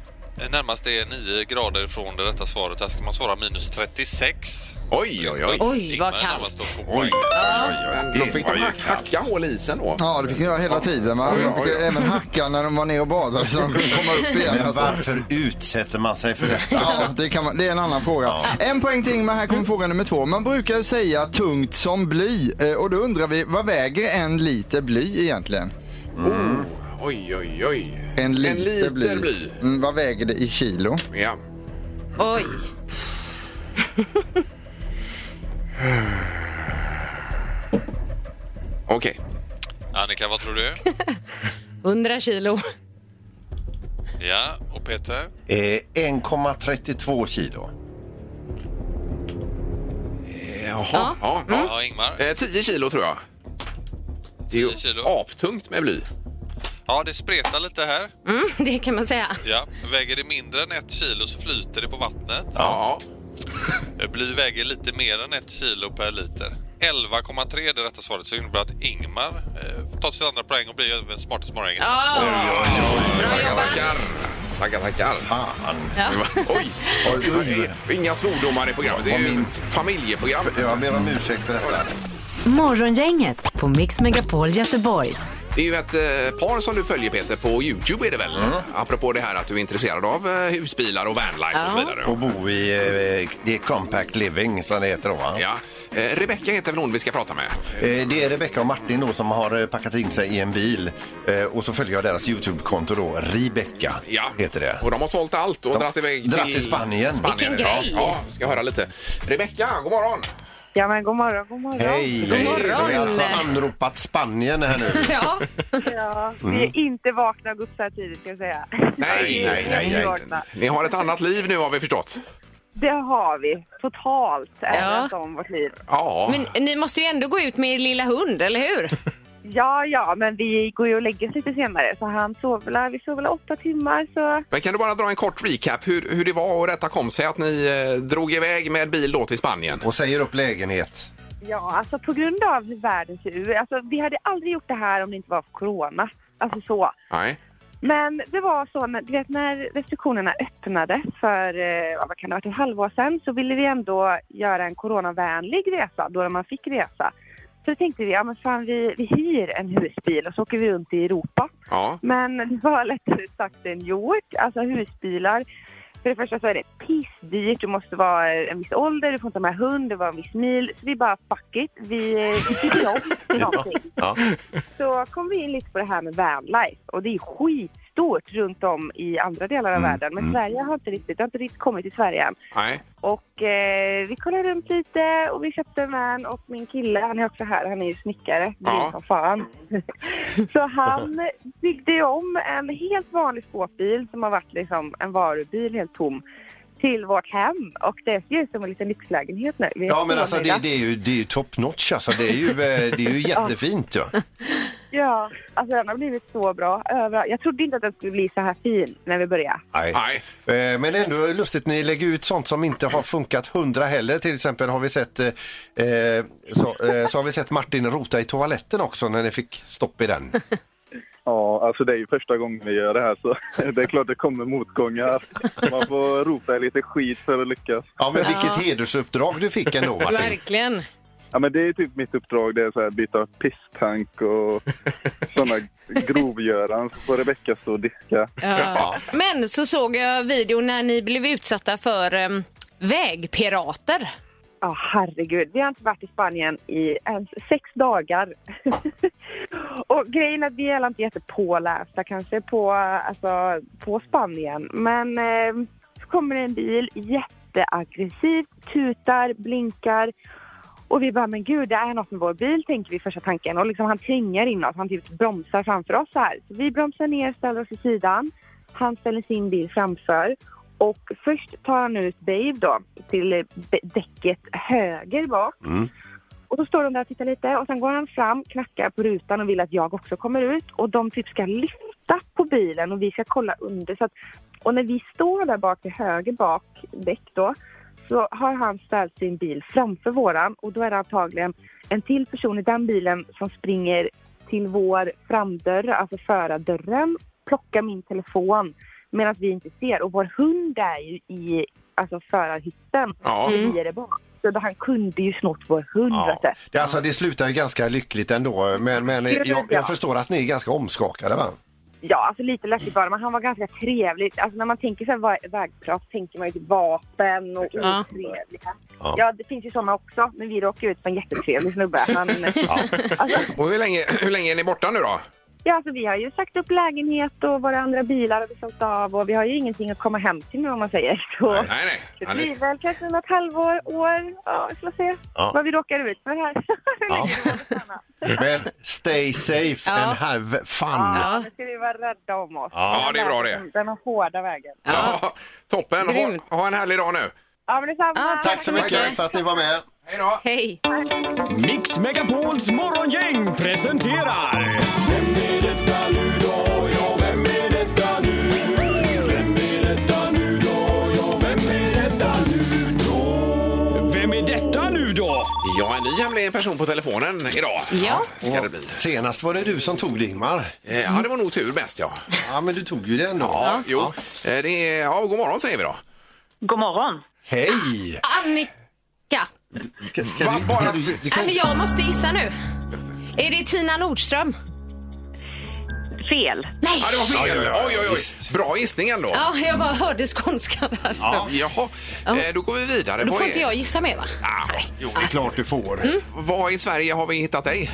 Speaker 7: eh, närmast är 9 grader från det rätta svaret. Här ska man svara minus 36.
Speaker 2: Oj, oj, oj.
Speaker 4: Oj,
Speaker 7: Ingmar
Speaker 4: vad
Speaker 7: är närmast
Speaker 4: kallt.
Speaker 7: att få poäng.
Speaker 2: Då fick de hack- hacka hål i isen då.
Speaker 5: Ja, det fick ni göra hela tiden. Va? De fick även hacka när de var nere och badade så de kunde komma upp igen.
Speaker 3: Men
Speaker 5: Alltså.
Speaker 3: varför utsätter man sig för detta?
Speaker 5: Ja, det, kan man, det är en annan fråga. En poäng till Ingmar, här
Speaker 2: Mm.
Speaker 5: kommer fråga nummer två. Man brukar ju säga tungt som bly eh, och då undrar vi, vad väger en liter bly egentligen?
Speaker 2: Oh. Mm. Oj, oj, oj.
Speaker 5: Mm. En liter,
Speaker 2: liter bly.
Speaker 5: Mm, vad väger det i kilo?
Speaker 2: Ja.
Speaker 4: Oj.
Speaker 2: Okej.
Speaker 7: Annika, vad tror du?
Speaker 4: 100 kilo.
Speaker 7: Ja, och Peter?
Speaker 3: Eh, 1,32 kilo.
Speaker 2: Eh, Jaha. Ja. Ja,
Speaker 4: Mm.
Speaker 7: Ja, Ingmar?
Speaker 2: Eh, 10 kilo tror jag. Det är ju
Speaker 7: 10 kilo.
Speaker 2: aptungt med bly.
Speaker 7: Ja, det spretar lite här.
Speaker 4: Mm, det kan man säga.
Speaker 7: Ja. Väger det mindre än ett kilo så flyter det på vattnet.
Speaker 2: Ja.
Speaker 7: Eh, Bly väger lite mer än ett kilo per liter. 11,3 är det rätta svaret, så det innebär att Ingmar eh, tar sitt andra poäng och blir även smartast morgongängare.
Speaker 4: Ja. Bra jobbat.
Speaker 2: Tackar. Tackar, tackar.
Speaker 3: Fan.
Speaker 2: Oj!
Speaker 3: Oj,
Speaker 2: Inga svordomar i programmet. Det är ju familjeprogram.
Speaker 3: Jag ber om ursäkt för detta.
Speaker 1: Morgongänget på Mix Megapol Göteborg.
Speaker 2: Det är ju ett eh, par som du följer Peter på Youtube är det väl?
Speaker 3: Mm.
Speaker 2: Apropå det här att du är intresserad av eh, husbilar och vanlife och så
Speaker 4: Ja.
Speaker 2: vidare.
Speaker 3: Och bo i eh, det är compact living som det heter då va?
Speaker 2: Ja. Eh, Rebecka heter väl hon vi ska prata med?
Speaker 3: Eh, Det är Rebecca och Martin då som har eh, packat in sig i en bil Eh, och så följer jag deras Youtube-konto då. Rebecca heter det.
Speaker 2: Och de har sålt allt och
Speaker 3: De-
Speaker 2: dratt iväg
Speaker 3: dratt till Spanien.
Speaker 4: Vilken
Speaker 2: ja.
Speaker 4: grej.
Speaker 2: ja, ska höra lite. Rebecka, god morgon!
Speaker 8: Ja, men god morgon, god morgon.
Speaker 3: Hej!
Speaker 4: God morgon.
Speaker 3: Så vi har alltså anropat Spanien här nu.
Speaker 4: Ja.
Speaker 8: Ja, Vi
Speaker 3: Mm.
Speaker 8: är inte vakna och gått så här tidigt, ska jag säga.
Speaker 2: Nej, nej, nej,
Speaker 8: Vi är
Speaker 2: nej.
Speaker 8: vakna.
Speaker 2: Ni har ett annat liv nu har vi förstått.
Speaker 8: Det har vi. Totalt ändrat om vårt liv.
Speaker 2: Ja,
Speaker 4: Men ni måste ju ändå gå ut med er lilla hund, eller hur?
Speaker 8: Ja, ja, men vi går ju och lägger oss lite senare. Så han sover väl, vi sover väl åtta timmar. Så
Speaker 2: men kan du bara dra en kort recap hur, hur det var och detta kom sig att ni eh, drog iväg med bil då till Spanien?
Speaker 3: Och säger upp lägenhet.
Speaker 8: ja, alltså på grund av hur världen ser ut. Alltså, vi hade aldrig gjort det här om det inte var för corona. Alltså så.
Speaker 2: Nej.
Speaker 8: Men det var så, när- du vet när restriktionerna öppnades för eh, ja, vad kan det ha varit, ett halvår sedan så ville vi ändå göra en coronavänlig resa då man fick resa. Så då tänkte vi, ja men fan vi, vi hyr en husbil och så åker vi runt i Europa.
Speaker 2: Ja.
Speaker 8: Men det var lättare sagt än gjort. Alltså husbilar, för det första så är det pissdyrt, du måste vara en viss ålder, du får inte ha med hund, du var en viss mil. Så vi bara fuck it, vi, vi tycker om någonting.
Speaker 2: Ja.
Speaker 8: Så kom vi in lite på det här med vanlife och det är skitstort runt om i andra delar av
Speaker 3: Mm,
Speaker 8: världen. Men Sverige har inte riktigt, det har inte riktigt kommit till Sverige än.
Speaker 2: Nej.
Speaker 8: Och eh, vi kollade runt lite och vi köpte en van och min kille, han är också här, han är ju snickare,
Speaker 2: Ja.
Speaker 8: grym som fan. Så han byggde ju om en helt vanlig skåpbil som har varit liksom en varubil helt tom till vårt hem och det ser ut som en liten lyxlägenhet nu. Vi är
Speaker 3: Ja men
Speaker 8: så
Speaker 3: alltså det,
Speaker 8: nöjda.
Speaker 3: det är ju, det är ju top notch alltså. Det är ju, eh, det är ju jättefint ju.
Speaker 8: Ja, alltså den har blivit så bra överallt. Jag trodde inte att den skulle bli så här fin när vi började.
Speaker 3: Nej.
Speaker 2: Nej.
Speaker 3: Eh, Men ändå lustigt, ni lägger ut sånt som inte har funkat hundra heller. Till exempel har vi sett, eh, eh, så, eh, så har vi sett Martin rota i toaletten också när ni fick stopp i den.
Speaker 9: Ja, alltså det är ju första gången vi gör det här så det är klart det kommer motgångar. Man får ropa lite skit för att lyckas.
Speaker 3: Ja, men vilket hedersuppdrag du fick ändå Martin.
Speaker 4: Verkligen.
Speaker 9: Ja, men det är typ mitt uppdrag, det är så här byta pisstank och sådana grovgöran. Så får Rebecka stå och diska.
Speaker 4: Ja. Men så såg jag videon när ni blev utsatta för em, vägpirater.
Speaker 8: Ja, herregud. Vi har inte varit i Spanien i ens sex dagar. och grejen är att vi är inte jättepålästa kanske på, alltså, på Spanien. Men eh, så kommer det en bil jätteaggressivt, tutar, blinkar. Och vi bara, men gud, det är något med vår bil, tänker vi första tanken. Och liksom han tränger in oss, han typ bromsar framför oss så här. Så vi bromsar ner, ställer oss i sidan. Han ställer sin bil framför. Och först tar han ut Babe då, till eh, b- däcket höger bak. Och då står de där och tittar lite och sen går han fram, knackar på rutan och vill att jag också kommer ut. Och de typ ska lyfta på bilen och vi ska kolla under. Så att, och när vi står där bak till höger bak däck då så har han ställt sin bil framför våran och då är det antagligen en till person i den bilen som springer till vår framdörr, alltså förardörren, plockar min telefon medan vi inte ser. Och vår hund är ju i alltså förarhytten
Speaker 2: Ja.
Speaker 8: och vi är där bak. Så då han kunde ju snott vår hund.
Speaker 3: Ja.
Speaker 8: vet du.
Speaker 3: Det, alltså, det slutar ju ganska lyckligt ändå, men, men eh, jag, jag förstår att ni är ganska omskakade va?
Speaker 8: Ja, alltså lite läskigt var det, men han var ganska trevlig. Alltså när man tänker så här vä- vägprat tänker man ju typ vapen och
Speaker 4: Ja.
Speaker 8: otrevliga.
Speaker 3: Ja.
Speaker 8: Ja. det finns ju såna också, men vi råkade ut för en jättetrevlig snubbe. Han, alltså,
Speaker 2: Och hur länge, hur länge är ni borta nu då?
Speaker 8: ja, alltså, vi har ju sagt upp lägenhet och våra andra bilar har vi sålt av och vi har ju ingenting att komma hem till nu om man säger så.
Speaker 2: Nej, nej.
Speaker 8: Det
Speaker 2: Ja,
Speaker 8: blir
Speaker 2: ni,
Speaker 8: väl kanske något halvår, år, ja, vi får se
Speaker 3: Ja.
Speaker 8: vad vi råkar ut för här. Hur länge vi råkar stanna.
Speaker 3: Men stay safe
Speaker 4: Ja.
Speaker 3: and have fun.
Speaker 4: Ja.
Speaker 8: Nu ska vi vara rädda om oss.
Speaker 2: Ja, det är bra det.
Speaker 8: Den har hårda vägen.
Speaker 2: ja. toppen.
Speaker 4: Grymt.
Speaker 2: Ha, ha en härlig dag nu.
Speaker 8: Ja, men detsamma.
Speaker 4: Ja,
Speaker 3: Ah, Tack så mycket för att ni var med.
Speaker 2: Hej då.
Speaker 4: Hej.
Speaker 10: Mix Megapols morgongäng presenterar... Vem är detta nu då? Ja, vem är detta nu? Vem är detta nu då? Ja, vem är detta nu då? Vem är detta nu då?
Speaker 2: Ja, en ny hemlig person på telefonen idag.
Speaker 4: Ja.
Speaker 2: Ska det bli.
Speaker 3: Senast var det du som tog det, Ingmar.
Speaker 2: Eh, Ja, det var nog tur bäst ja.
Speaker 3: Ja, men du tog ju det ändå.
Speaker 2: Ja, jo. Eh, Det är, ja, god morgon säger vi då.
Speaker 11: God morgon.
Speaker 3: Hej!
Speaker 4: Annika.
Speaker 2: Va, bara,
Speaker 4: Ja, men jag måste gissa nu. Är det Tina Nordström?
Speaker 11: Fel.
Speaker 4: Nej.
Speaker 2: ja, det var fel. Oj, oj, oj. Bra gissning ändå.
Speaker 4: Ja, jag bara hörde skånskan där. så.
Speaker 2: Ja, jaha,
Speaker 4: Ja.
Speaker 2: Eh, då går vi vidare.
Speaker 4: Och Då
Speaker 2: Vad
Speaker 4: får
Speaker 2: är-
Speaker 4: inte jag Mm. gissa mer va?
Speaker 2: Ah, jo, det är klart.
Speaker 3: Klart du får.
Speaker 2: Var i Sverige har vi hittat dig?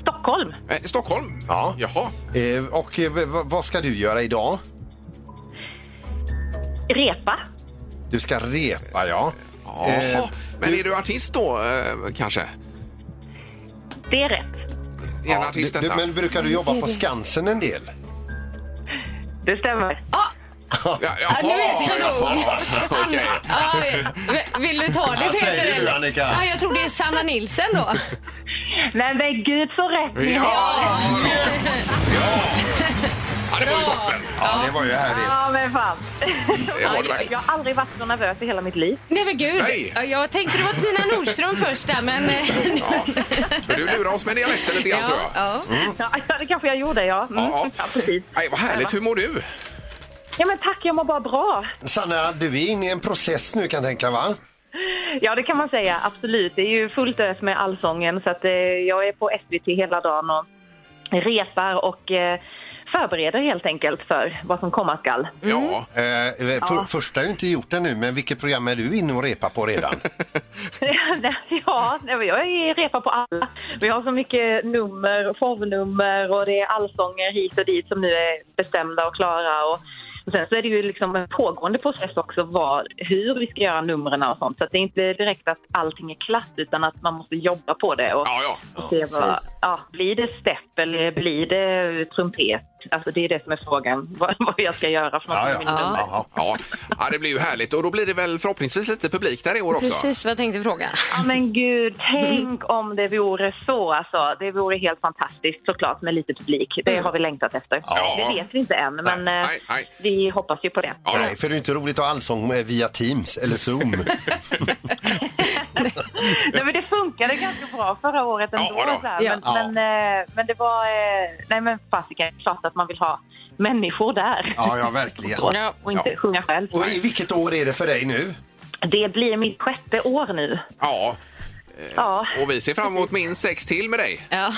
Speaker 11: Stockholm.
Speaker 2: Eh, Stockholm?
Speaker 3: Ja.
Speaker 2: Jaha.
Speaker 3: Eh, och eh, v- v- vad ska du göra idag?
Speaker 11: Repa.
Speaker 3: Du ska repa, ja. Eh,
Speaker 2: Jaha. Men är du artist då, eh, kanske?
Speaker 11: Det är rätt.
Speaker 2: Är en artist
Speaker 3: du, du,
Speaker 2: detta?
Speaker 3: men brukar du jobba på Skansen en del?
Speaker 11: Det stämmer.
Speaker 2: Ja,
Speaker 4: Ja, nu vet jag
Speaker 2: jaha.
Speaker 4: nog.
Speaker 2: Okej.
Speaker 4: Anna- Ja, v- vill du ta det
Speaker 3: Vad säger
Speaker 4: Peter?
Speaker 3: du,
Speaker 4: eller?
Speaker 3: Annika?
Speaker 4: Ja, jag tror det är Sanna Nilsen då.
Speaker 11: Nej, men gud så rätt ni har.
Speaker 2: Ja, ja, det var ju toppen.
Speaker 3: Ja, det var ju härligt.
Speaker 11: Ja, men fan.
Speaker 2: Det var det verkligen.
Speaker 11: Jag har aldrig varit så nervös i hela mitt liv.
Speaker 4: Nej men gud.
Speaker 2: Nej.
Speaker 4: Ja, Jag tänkte det var Tina Nordström först där men... eh,
Speaker 2: Ja. Men Du lurar oss med dialekten lite grann, tror jag. Mm.
Speaker 4: ja.
Speaker 11: Ja, det kanske jag gjorde, ja. Mm.
Speaker 2: Ja, ja.
Speaker 11: Ja, precis.
Speaker 2: Nej, vad härligt. Hur mår du?
Speaker 11: Ja, men tack, jag mår bara bra.
Speaker 3: Sanna, du är inne i en process nu kan jag tänka, va?
Speaker 11: Ja, det kan man säga. Absolut. Det är ju fullt ös med allsången så att, eh, jag är på SVT hela dagen och repar och eh, förbereder helt enkelt för vad som komma skall.
Speaker 4: Mm.
Speaker 2: Ja.
Speaker 3: Eh, eh, för, Första är ju inte gjort ännu, men vilket program är du inne och repa på redan?
Speaker 11: ja, nej, men jag är repar på alla. Vi har så mycket nummer, shownummer och det är allsånger hit och dit som nu är bestämda och klara. Och, och sen så är det ju liksom en pågående process också vad, hur vi ska göra numren och sånt. Så att det är inte direkt att allting är klart utan att man måste jobba på det. Och,
Speaker 2: Ja, ja.
Speaker 11: och se vad, ja, blir det stepp eller blir det trumpet? Alltså det är det som är frågan, vad, vad jag ska göra för något.
Speaker 3: Ja,
Speaker 11: med
Speaker 3: ja.
Speaker 11: mina nummer.
Speaker 2: Ja. Ja. ja, det blir ju härligt. Och då blir det väl förhoppningsvis lite publik där i år också?
Speaker 4: Precis vad jag tänkte fråga.
Speaker 11: Ja men gud, tänk om det vore så alltså. Det vore helt fantastiskt såklart med lite publik. Det
Speaker 4: Mm.
Speaker 11: har vi längtat efter.
Speaker 2: Ja.
Speaker 11: Det vet vi inte än men
Speaker 2: Nej,
Speaker 11: eh,
Speaker 2: nej, nej.
Speaker 11: vi hoppas ju på det.
Speaker 2: Ja,
Speaker 3: Nej, för det är ju inte roligt att ha allsång eh, via Teams eller Zoom.
Speaker 11: nej, men det funkade ganska bra förra året ändå.
Speaker 2: Ja, då.
Speaker 11: så här.
Speaker 4: Ja.
Speaker 11: Men, Men, eh, men det var... eh, Nej men fasiken, klart att man vill ha människor där.
Speaker 3: Ja, ja, verkligen.
Speaker 4: Ja.
Speaker 11: Och inte
Speaker 2: Ja.
Speaker 11: sjunga själv.
Speaker 3: Och i vilket år är det för dig nu?
Speaker 11: Det blir mitt sjätte år nu.
Speaker 2: ja.
Speaker 11: Ja,
Speaker 2: Och vi ser fram emot minst sex till med dig.
Speaker 4: Ja.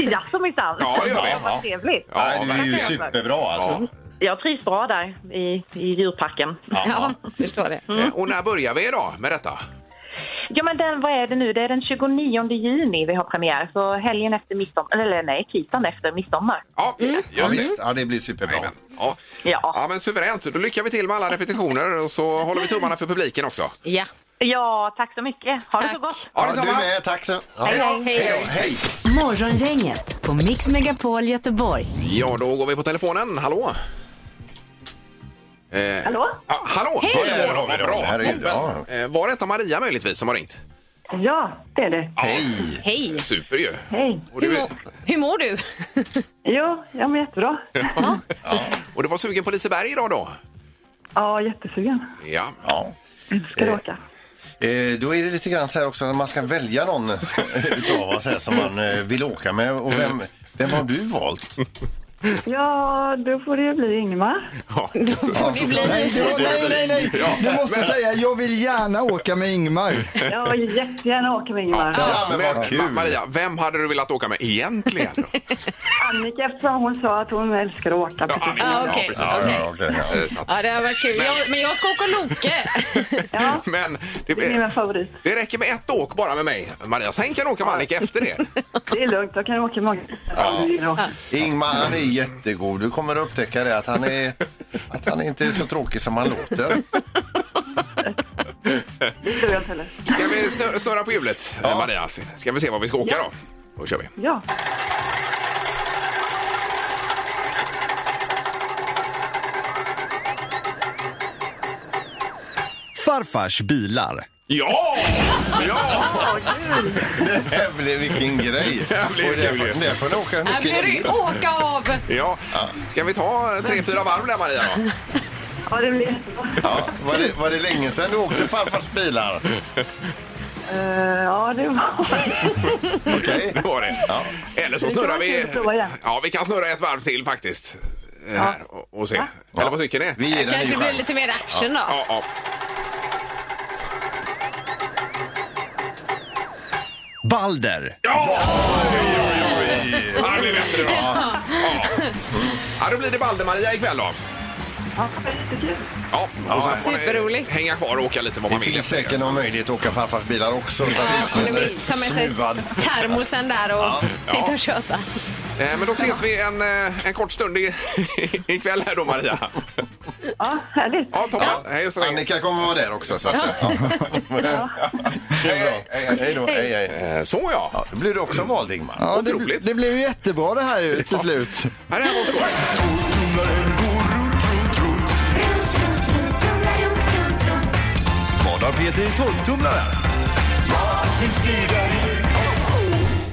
Speaker 11: jaså minsann.
Speaker 2: Ja, det gör vi.
Speaker 11: Vad trevligt.
Speaker 2: Ja,
Speaker 3: Nej, du är ju
Speaker 2: verkligen.
Speaker 3: superbra alltså.
Speaker 11: Jag trivs bra där i, i djurparken.
Speaker 4: Ja, jag förstår det.
Speaker 2: Eh, Och när börjar vi idag med detta?
Speaker 11: Ja, men den, vad är det nu? Det är den 29 juni vi har premiär, så helgen efter midsommar, eller nej, tisdagen efter midsommar.
Speaker 2: Ja,
Speaker 4: Mm.
Speaker 3: Ja,
Speaker 2: just det.
Speaker 3: visst. Ja, det blir superbra.
Speaker 2: Jajamän. Ja.
Speaker 11: Ja.
Speaker 2: ja, men suveränt. Då lyckas vi till med alla repetitioner och så håller vi tummarna för publiken också.
Speaker 4: Ja.
Speaker 11: Ja, tack så mycket. Ha det så
Speaker 4: Tack.
Speaker 11: gott.
Speaker 2: Ja,
Speaker 3: Ja, du
Speaker 2: detsamma.
Speaker 3: med, tack så. Ja.
Speaker 4: Hej då.
Speaker 3: Hej!
Speaker 1: Morgongänget på Mix Megapol Göteborg.
Speaker 2: Ja, då går vi på telefonen. Hallå? Eh,
Speaker 11: Hallå?
Speaker 2: Ja, hallå! Hej!
Speaker 3: Där har vi
Speaker 2: Vad
Speaker 3: dem.
Speaker 2: bra!
Speaker 3: Herregud, ja.
Speaker 2: Toppen. Eh, Var detta Maria möjligtvis som har ringt?
Speaker 8: Ja, det är det.
Speaker 3: Hej!
Speaker 4: Hej.
Speaker 2: Super ju!
Speaker 8: Hej.
Speaker 2: Och
Speaker 4: Hur,
Speaker 2: du,
Speaker 4: mår- hur mår du?
Speaker 8: Jo, jag mår jättebra.
Speaker 2: och du var sugen på Liseberg idag då?
Speaker 8: Ja, jättesugen.
Speaker 2: Ja.
Speaker 3: Ja.
Speaker 8: Ska du åka?
Speaker 3: Eh, då är det lite grann så här också när man ska välja någon utav oss här som man eh, vill åka med. Och vem, vem har du valt?
Speaker 8: Ja, då får det ju bli Ingmar.
Speaker 5: Får det bli? Nej, du- nej, nej, nej. Du måste säga jag vill gärna åka med Ingmar.
Speaker 8: Jag vill jättegärna åka med Ingmar.
Speaker 3: Ja, men vad
Speaker 2: Ma-
Speaker 3: kul!
Speaker 2: Maria, vem hade du velat åka med egentligen?
Speaker 8: Annika, eftersom hon sa att hon älskar att åka.
Speaker 2: Ja,
Speaker 8: precis.
Speaker 2: Annika.
Speaker 4: Ja, okej.
Speaker 2: precis.
Speaker 3: Ja,
Speaker 4: Okej.
Speaker 3: ja, okej, ja.
Speaker 2: Eh, så att-
Speaker 4: Ja, det här var kul. Jag, men jag ska åka och Loke.
Speaker 8: Ja,
Speaker 2: Men det,
Speaker 8: det är
Speaker 2: blir,
Speaker 8: min favorit.
Speaker 2: det räcker med ett åk bara med mig, Maria. Sen kan du åka med Annika efter det.
Speaker 8: Det är lugnt, jag kan åka många ja.
Speaker 3: Ingmar han är jättegod. Du kommer att upptäcka det att han är, att han inte är så tråkig som han låter.
Speaker 2: Ska vi snö- snurra på hjulet, eh, Maria? Ska vi se var vi ska åka då? Då kör vi.
Speaker 8: Ja,
Speaker 10: Farfars bilar.
Speaker 2: Ja! Ja!
Speaker 3: Jävlar vilken grej!
Speaker 2: Det blir
Speaker 3: Och där
Speaker 2: kul ju.
Speaker 3: får- Där får ni åka hur
Speaker 4: Här blir
Speaker 3: mycket
Speaker 4: det åka av.
Speaker 2: ja. Ska vi ta eh, tre, fyra varv där, Maria? Då?
Speaker 8: ja det blir jättebra.
Speaker 3: ja, var, det, var det länge sedan du åkte farfars bilar?
Speaker 11: Eh, ja, det var...
Speaker 2: Okej, det var det. Eller så
Speaker 11: Det kan
Speaker 2: snurrar
Speaker 11: vara
Speaker 2: vi...
Speaker 11: kul att prova igen.
Speaker 2: Ja, vi kan snurra ett varv till faktiskt. eh,
Speaker 11: Ja.
Speaker 2: Här och, och se. Eller vad tycker ni? Vi
Speaker 4: Det kanske blir lite mer action då.
Speaker 2: Ja, ja.
Speaker 10: Balder.
Speaker 2: Ja, det blir bättre då. Ja. Ja, då blir det Balder-Maria ikväll då.
Speaker 11: Ja, det var jättekul.
Speaker 2: Ja, och sen får ni
Speaker 4: Superroligt.
Speaker 2: Hänga kvar och åka lite vad
Speaker 3: Det
Speaker 2: man vill.
Speaker 3: finns säkert någon möjlighet att åka farfars bilar också. så att vi inte
Speaker 4: om ni vill.
Speaker 3: känner
Speaker 4: Ta med sig
Speaker 3: snuvad.
Speaker 4: termosen där och
Speaker 2: Ja.
Speaker 4: sitta och köta.
Speaker 2: Eh, Men då ses vi en, eh, en kort stund i- ikväll här då Maria.
Speaker 11: Ja, härligt.
Speaker 2: Ja, toppen. Hej och så länge.
Speaker 3: Annika kommer vara där också. Så att, ja. hej, hej, hej, då. hej, hej.
Speaker 2: Eh, Så ja.
Speaker 3: Ja, då blir du också vald, Ingmar.
Speaker 5: Ja, det,
Speaker 2: Otroligt.
Speaker 5: det blev ju jättebra det här ju till slut.
Speaker 2: Ja, det här var skoj.
Speaker 10: Vad har Peter i tolvtumlaren?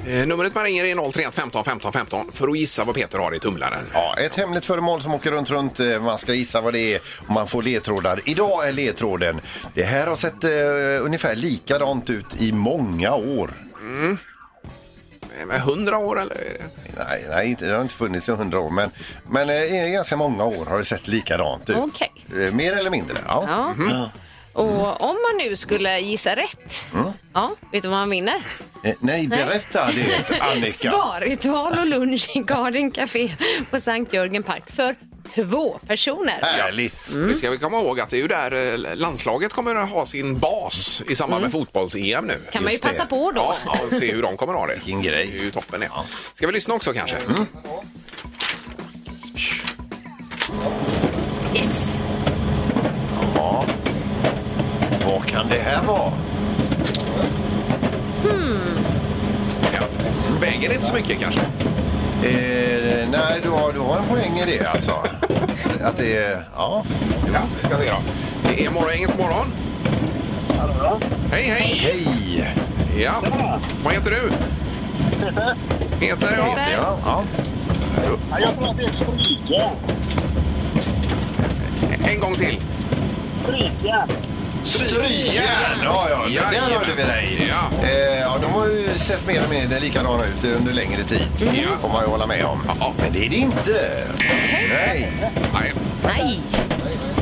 Speaker 2: Eh, Numret man ringer är 031 15 15 15 för att gissa vad Peter har i tumlaren.
Speaker 3: Ja, ett hemligt föremål som åker runt, runt. eh, Man ska gissa vad det är och man får ledtrådar. Idag är ledtråden. Det här har sett eh, ungefär likadant ut i många år.
Speaker 2: Mm. Eh, med 100 år eller?
Speaker 3: Nej, nej inte, det har inte funnits i hundra år, men, men eh, i ganska många år har det sett likadant ut.
Speaker 4: Okej.
Speaker 3: Eh, Mer eller mindre. Ja. Mm.
Speaker 4: Ja. Och om man nu skulle gissa rätt, ja, vet du vad man vinner?
Speaker 3: Eh, Mm. Nej, berätta det, Annika.
Speaker 4: Sparutval och lunch i Garden Café på Sankt Jörgen Park för två personer.
Speaker 3: Härligt.
Speaker 2: Det ska vi komma ihåg att det är ju där eh, landslaget kommer att ha sin bas i
Speaker 3: Mm.
Speaker 2: samband med fotbolls-EM nu.
Speaker 4: Kan man ju
Speaker 3: just det.
Speaker 4: passa på då.
Speaker 2: Ja, ja, och se hur de kommer att ha det.
Speaker 3: Vilken grej. Mm.
Speaker 2: Det är ju toppen det. Ska vi lyssna också kanske?
Speaker 4: Yes!
Speaker 3: Vad kan det här vara?
Speaker 4: Hmm.
Speaker 2: Ja. Väger inte så mycket kanske?
Speaker 3: Eh, nej, du har, du har en poäng i det alltså. Att det är... Ja.
Speaker 2: Ja, vi ska se då. Det är Morgongänget på morgon. Hej, hej!
Speaker 3: Hej!
Speaker 2: Ja. Vad heter du? Peter, ja.
Speaker 4: Peter.
Speaker 2: ja. ja.
Speaker 6: Jag tror att det är Sprike.
Speaker 2: En gång till.
Speaker 6: Sprike.
Speaker 3: Strykjärn! Ja, ja,
Speaker 2: Ja,
Speaker 3: där
Speaker 2: ja.
Speaker 3: hörde vi dig.
Speaker 2: Ja.
Speaker 3: Eh, ja, de har ju sett mer och mer likadana ut under längre tid. Det får man ju hålla med om.
Speaker 2: Mm. Ja.
Speaker 3: Men det är det inte. Nej.
Speaker 2: Nej.
Speaker 4: Nej!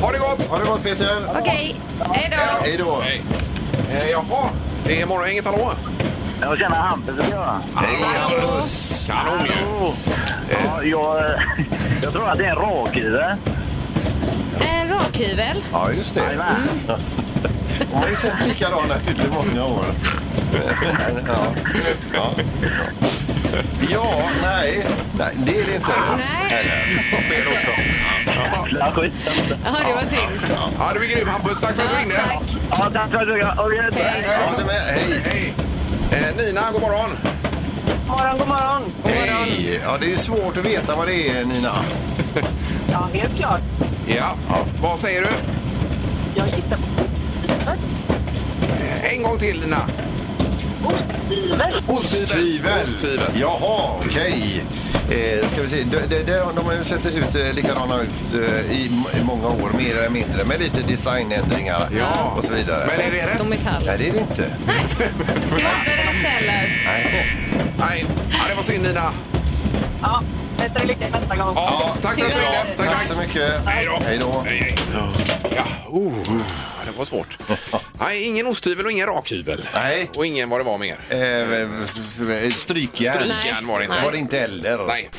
Speaker 2: Ha det gott!
Speaker 3: Ha det gott, Peter.
Speaker 4: Okej, hej då!
Speaker 3: Hej då.
Speaker 2: Hej. Eh, jaha, det är Morgongänget, hallå?
Speaker 6: Jag känner Hampus att göra.
Speaker 2: Hej, Anders! Kanon ju! Eh.
Speaker 6: Hallå. Ja, jag, eh, jag tror att det är en rakhyvel.
Speaker 4: En Eh, rakhyvel. Mm.
Speaker 3: Ja, just det. Mm.
Speaker 6: Jajamän.
Speaker 3: De har ju sett likadana ut i många år. Ja, ja. ja nej. nej, det är det inte.
Speaker 4: Nej,
Speaker 2: Fel också.
Speaker 6: Ja, skit.
Speaker 4: ja, det var synd.
Speaker 2: Ja, du är grym Hampus, tack för att du
Speaker 4: Ja,
Speaker 2: ringde!
Speaker 4: tack.
Speaker 6: Ja, tack för att du... Okej, tack.
Speaker 3: Jag håller med. Hej.
Speaker 2: Hej! Eh, Nina, god morgon!
Speaker 11: God morgon, god morgon.
Speaker 3: Hej. Ja, det är ju svårt att veta vad det är, Nina.
Speaker 11: Ja, helt klart.
Speaker 2: Ja. Vad säger du?
Speaker 11: Jag gissar på
Speaker 2: Eh, En gång till Nina.
Speaker 11: osthyvel.
Speaker 3: Osthyvel.
Speaker 2: Osthyvel.
Speaker 3: Jaha, okej. Eh, ska vi se. De, de, de, de har ju sett ut eh, likadana ut eh, i, m- i många år, mer eller mindre, med lite designändringar
Speaker 2: Ja.
Speaker 3: och så vidare.
Speaker 2: Men är det
Speaker 4: Ost och
Speaker 2: rätt?
Speaker 4: metall.
Speaker 3: Nej, det är det inte.
Speaker 4: Det var inte rätt heller.
Speaker 2: Nej, ja, det var synd Nina.
Speaker 11: Ja, bättre lycka nästa gång.
Speaker 2: Ja, tack för att du
Speaker 4: Tyvärr.
Speaker 2: ringde.
Speaker 3: Tack,
Speaker 2: Tack,
Speaker 3: så
Speaker 2: tack.
Speaker 3: mycket.
Speaker 2: Hej då.
Speaker 3: Hej då.
Speaker 2: Hej, hej. Ja, oh, ja, det var svårt. Nej, ingen osthyvel och ingen rakhyvel.
Speaker 3: Nej.
Speaker 2: Och ingen vad det var mer.
Speaker 3: Eh, strykjärn.
Speaker 2: Strykjärn var det inte.
Speaker 3: Var det inte heller.
Speaker 2: Nej.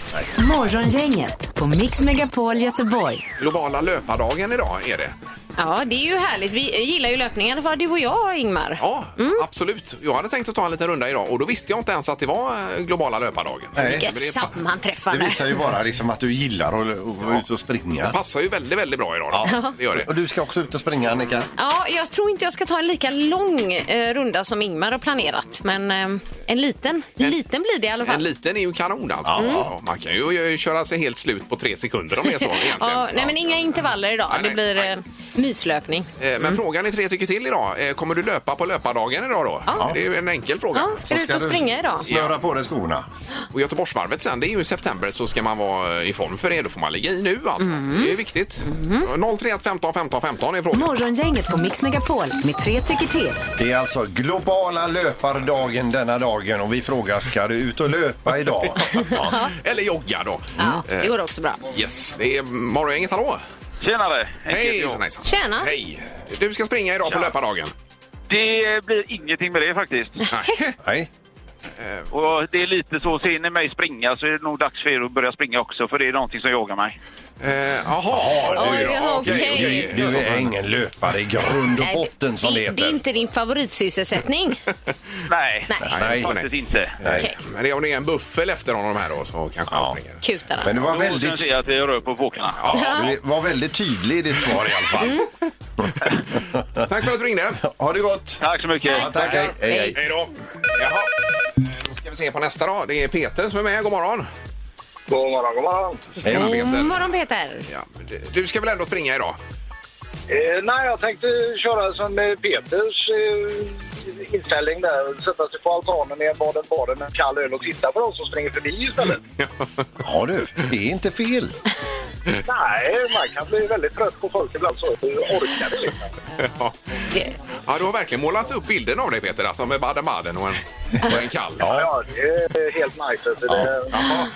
Speaker 1: Morgongänget på Mix Megapol Göteborg.
Speaker 2: Globala löpardagen idag är det.
Speaker 4: Ja, det är ju härligt. Vi gillar ju löpning i alla fall, du och jag, Ingmar.
Speaker 2: Ja,
Speaker 3: Mm.
Speaker 2: absolut. Jag hade tänkt att ta en liten runda idag och då visste jag inte ens att det var eh, globala löpardagen.
Speaker 3: Nej.
Speaker 2: Men det
Speaker 4: Vilket
Speaker 2: pa-
Speaker 3: Det
Speaker 4: sammanträffande.
Speaker 3: visar ju bara liksom att du gillar att att vara ute och springa.
Speaker 2: passar ju väldigt, väldigt bra idag. Då. Det gör det.
Speaker 3: Och du ska också ut och springa, Annika.
Speaker 4: Ja, jag tror inte jag ska ta en lika lång eh, runda som Ingmar har planerat. Men eh, en liten, liten blir det i alla
Speaker 2: En
Speaker 4: fall.
Speaker 2: liten är ju kanon alltså. Ja, Man kan ju eh, köra sig helt slut på tre sekunder om det är så egentligen.
Speaker 4: ja, nej, men inga intervaller idag.
Speaker 2: Nej,
Speaker 4: det
Speaker 2: nej,
Speaker 4: blir
Speaker 2: nej.
Speaker 4: eh, Myslöpning.
Speaker 2: Eh, Men frågan är tre tycker till idag. Eh, Kommer du löpa på löpardagen idag då?
Speaker 4: Ja.
Speaker 2: Det är ju en enkel fråga.
Speaker 4: Ja, ska
Speaker 2: Så
Speaker 4: du ut och
Speaker 2: du
Speaker 4: springa idag?
Speaker 2: Snöra på dig skorna. Och Göteborgsvarvet sen, det är ju i september så ska man vara i form för det. Då får man ligga i nu alltså.
Speaker 4: Mm.
Speaker 2: Det är ju viktigt. 031 15 15 15 är frågan.
Speaker 1: Morgongänget på Mix Megapol med tre tycker till.
Speaker 3: Det är alltså globala löpardagen denna dagen och vi frågar ska du ut och löpa idag?
Speaker 2: Ja. Eller jogga då.
Speaker 4: Ja,
Speaker 2: Eh,
Speaker 4: det går också bra.
Speaker 2: Yes, det är Morgongänget, hallå!
Speaker 12: Tjenare!
Speaker 2: Hej!
Speaker 12: jag.
Speaker 2: hejsan.
Speaker 4: Tjena!
Speaker 2: Hej! Du ska springa idag på löpardagen.
Speaker 12: Det blir ingenting med det faktiskt.
Speaker 3: Nej.
Speaker 12: Eh, Och det är lite så, ser ni mig springa så är det nog dags för er att börja springa också för det är någonting som jagar mig.
Speaker 2: Eh, Jaha,
Speaker 4: Oj, ja, okej, okej. okej.
Speaker 3: Du är ingen löpare i grund och
Speaker 4: Nej,
Speaker 3: botten som det
Speaker 4: det, det är
Speaker 3: heter.
Speaker 4: inte din favoritsysselsättning.
Speaker 12: Nej,
Speaker 4: Nej.
Speaker 12: faktiskt inte.
Speaker 4: Okej.
Speaker 2: Men det är om det är en buffel efter honom här då så kanske han springer.
Speaker 4: Kutarna.
Speaker 3: Men det var
Speaker 12: Då
Speaker 3: väldigt-
Speaker 12: kan jag säga att jag rör på fåglarna.
Speaker 3: Ja, du var väldigt tydlig i ditt svar i alla fall.
Speaker 2: Tack för att du ringde.
Speaker 3: Ha det gott!
Speaker 12: Mm. Tack så mycket.
Speaker 3: Ja, tack, hej, hej, hej.
Speaker 2: Hej då. Jaha. Eh, Då ska vi se på nästa då. Det är Peter som är med. God morgon.
Speaker 13: God morgon, god morgon.
Speaker 2: Hej
Speaker 4: God
Speaker 2: Peter.
Speaker 4: morgon Peter!
Speaker 2: Du ska väl ändå springa idag?
Speaker 13: Eh, nej, jag tänkte köra som eh, Peters eh, inställning där. Sätta sig på altanen i en Baden-Baden med en kall öl och titta på dem som springer förbi istället.
Speaker 3: Ja du, det är inte fel.
Speaker 13: nej, man kan bli väldigt trött på folk ibland så orkar det liksom.
Speaker 2: Ja. ja, du har verkligen målat upp bilden av dig Peter, alltså med Baden-Baden och en, och en kall.
Speaker 13: Ja, det är helt nice. Så det,
Speaker 2: Jaha.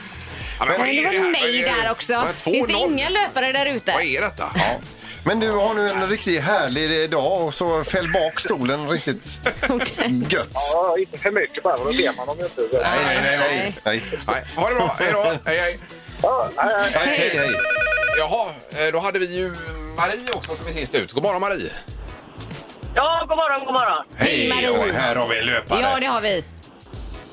Speaker 2: Ja, men vad
Speaker 4: Men det
Speaker 2: är det
Speaker 4: var
Speaker 2: här?
Speaker 4: nej där också. Finns det inga löpare där ute?
Speaker 2: detta?
Speaker 3: Ja. Men du har nu en riktigt härlig dag och så fäll bak stolen riktigt gött.
Speaker 13: ja, inte för mycket bara, för då ser man dem ju inte. Så.
Speaker 3: Nej, nej, nej, nej. nej.
Speaker 2: Nej, ha det bra. Hej då. Hej, hej.
Speaker 13: Ja, nej, nej.
Speaker 3: Hej, hej.
Speaker 2: Jaha, eh, då hade vi ju Marie också som är sist ut. God morgon Marie.
Speaker 14: Ja, god morgon, god morgon.
Speaker 2: Hej
Speaker 3: Marie. Här har vi en löpare.
Speaker 4: Ja, det har vi.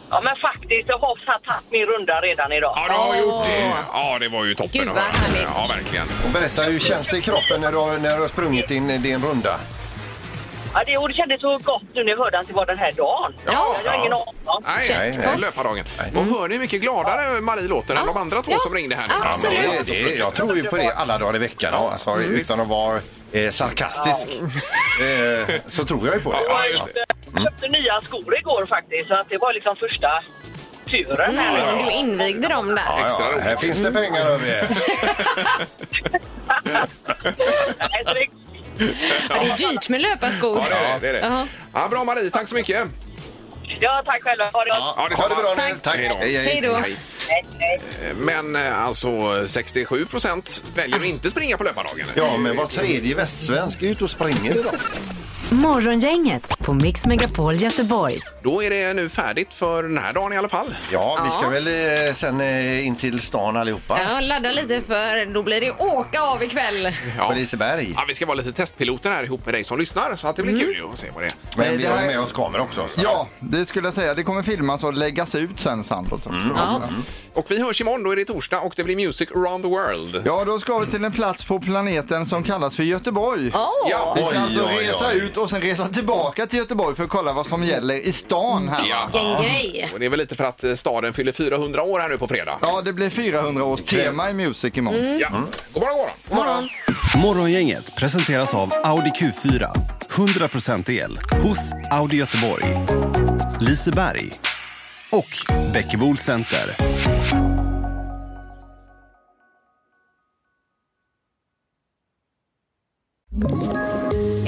Speaker 14: Ja, men faktiskt, jag har satt tagit min runda redan idag.
Speaker 2: Ja, du har gjort det. Ja, det var ju toppen.
Speaker 14: Gud,
Speaker 2: att
Speaker 14: vad
Speaker 2: höra.
Speaker 14: härligt.
Speaker 2: Ja, verkligen.
Speaker 3: Och berätta, hur känns det i kroppen när du har, när du har sprungit din, din runda?
Speaker 14: Ja, det, och det kändes så gott nu när jag hörde att det var den här dagen.
Speaker 2: Ja.
Speaker 14: jag har ingen aning om.
Speaker 2: Nej, nej, nej, löpardagen. Och hör ni hur mycket gladare Marie låter än de andra två som ringde här nu?
Speaker 3: Ja, men det, det, jag tror ju på det alla dagar i veckan, ja, alltså, utan att vara eh, sarkastisk. Eh, så tror jag ju på det.
Speaker 14: Ja, just det. eh, Jag köpte nya skor igår faktiskt, så att det var liksom första turen. här.
Speaker 4: Mm, du invigde dem där.
Speaker 3: Ja, ja, här finns det pengar över er.
Speaker 4: Ja, det är dyrt med löparskor.
Speaker 2: Ja, det är det, det, är det.
Speaker 4: Ja.
Speaker 2: Ja, bra Marie, tack så mycket.
Speaker 14: Ja, tack själva. Ha det gott.
Speaker 2: Ja, detsamma.
Speaker 3: Ha det bra nu. Tack.
Speaker 2: Hej då.
Speaker 3: Hej, hej.
Speaker 4: Hej då.
Speaker 14: Hej, hej.
Speaker 2: Eh, Men eh, alltså 67 procent väljer att inte springa på löpardagen.
Speaker 3: Ja, men var tredje västsvensk är ute och springer idag.
Speaker 1: Morgongänget på Mix Megapol Göteborg.
Speaker 2: Då är det nu färdigt för den här dagen i alla fall.
Speaker 3: Ja, vi ska
Speaker 4: Ja.
Speaker 3: väl eh, sen eh, in till stan allihopa.
Speaker 4: Ja, ladda lite för då blir det åka av ikväll.
Speaker 2: Ja.
Speaker 3: På Liseberg.
Speaker 2: Ja, vi ska vara lite testpiloter här ihop med dig som lyssnar så att det blir kul ju att se vad det är.
Speaker 3: Men
Speaker 5: Eh,
Speaker 3: vi
Speaker 5: det
Speaker 3: har
Speaker 5: här-
Speaker 3: med oss kameror också. så-
Speaker 5: Ja, det skulle jag säga. Det kommer filmas och läggas ut sen, Sandholt.
Speaker 2: Mm,
Speaker 5: också.
Speaker 3: Mm.
Speaker 2: Och vi hörs imorgon, då är det torsdag och det blir Music around the world.
Speaker 5: Ja, då ska vi till en plats på planeten som kallas för Göteborg.
Speaker 2: Ja.
Speaker 5: Vi ska
Speaker 2: Oj,
Speaker 5: alltså
Speaker 2: oj, oj.
Speaker 5: resa ut och sen resa tillbaka till Göteborg för att kolla vad som gäller i stan här.
Speaker 2: Ja.
Speaker 4: Vilken grej.
Speaker 2: Och det är väl lite för att eh, staden fyller 400 år här nu på fredag.
Speaker 5: Ja, det blir 400 års tema i Music imorgon.
Speaker 2: Mm. Ja. God morgon, god morgon.
Speaker 10: Mm. Morgongänget presenteras av Audi Q4. 100% el hos Audi Göteborg, Liseberg och Bäckebol Center.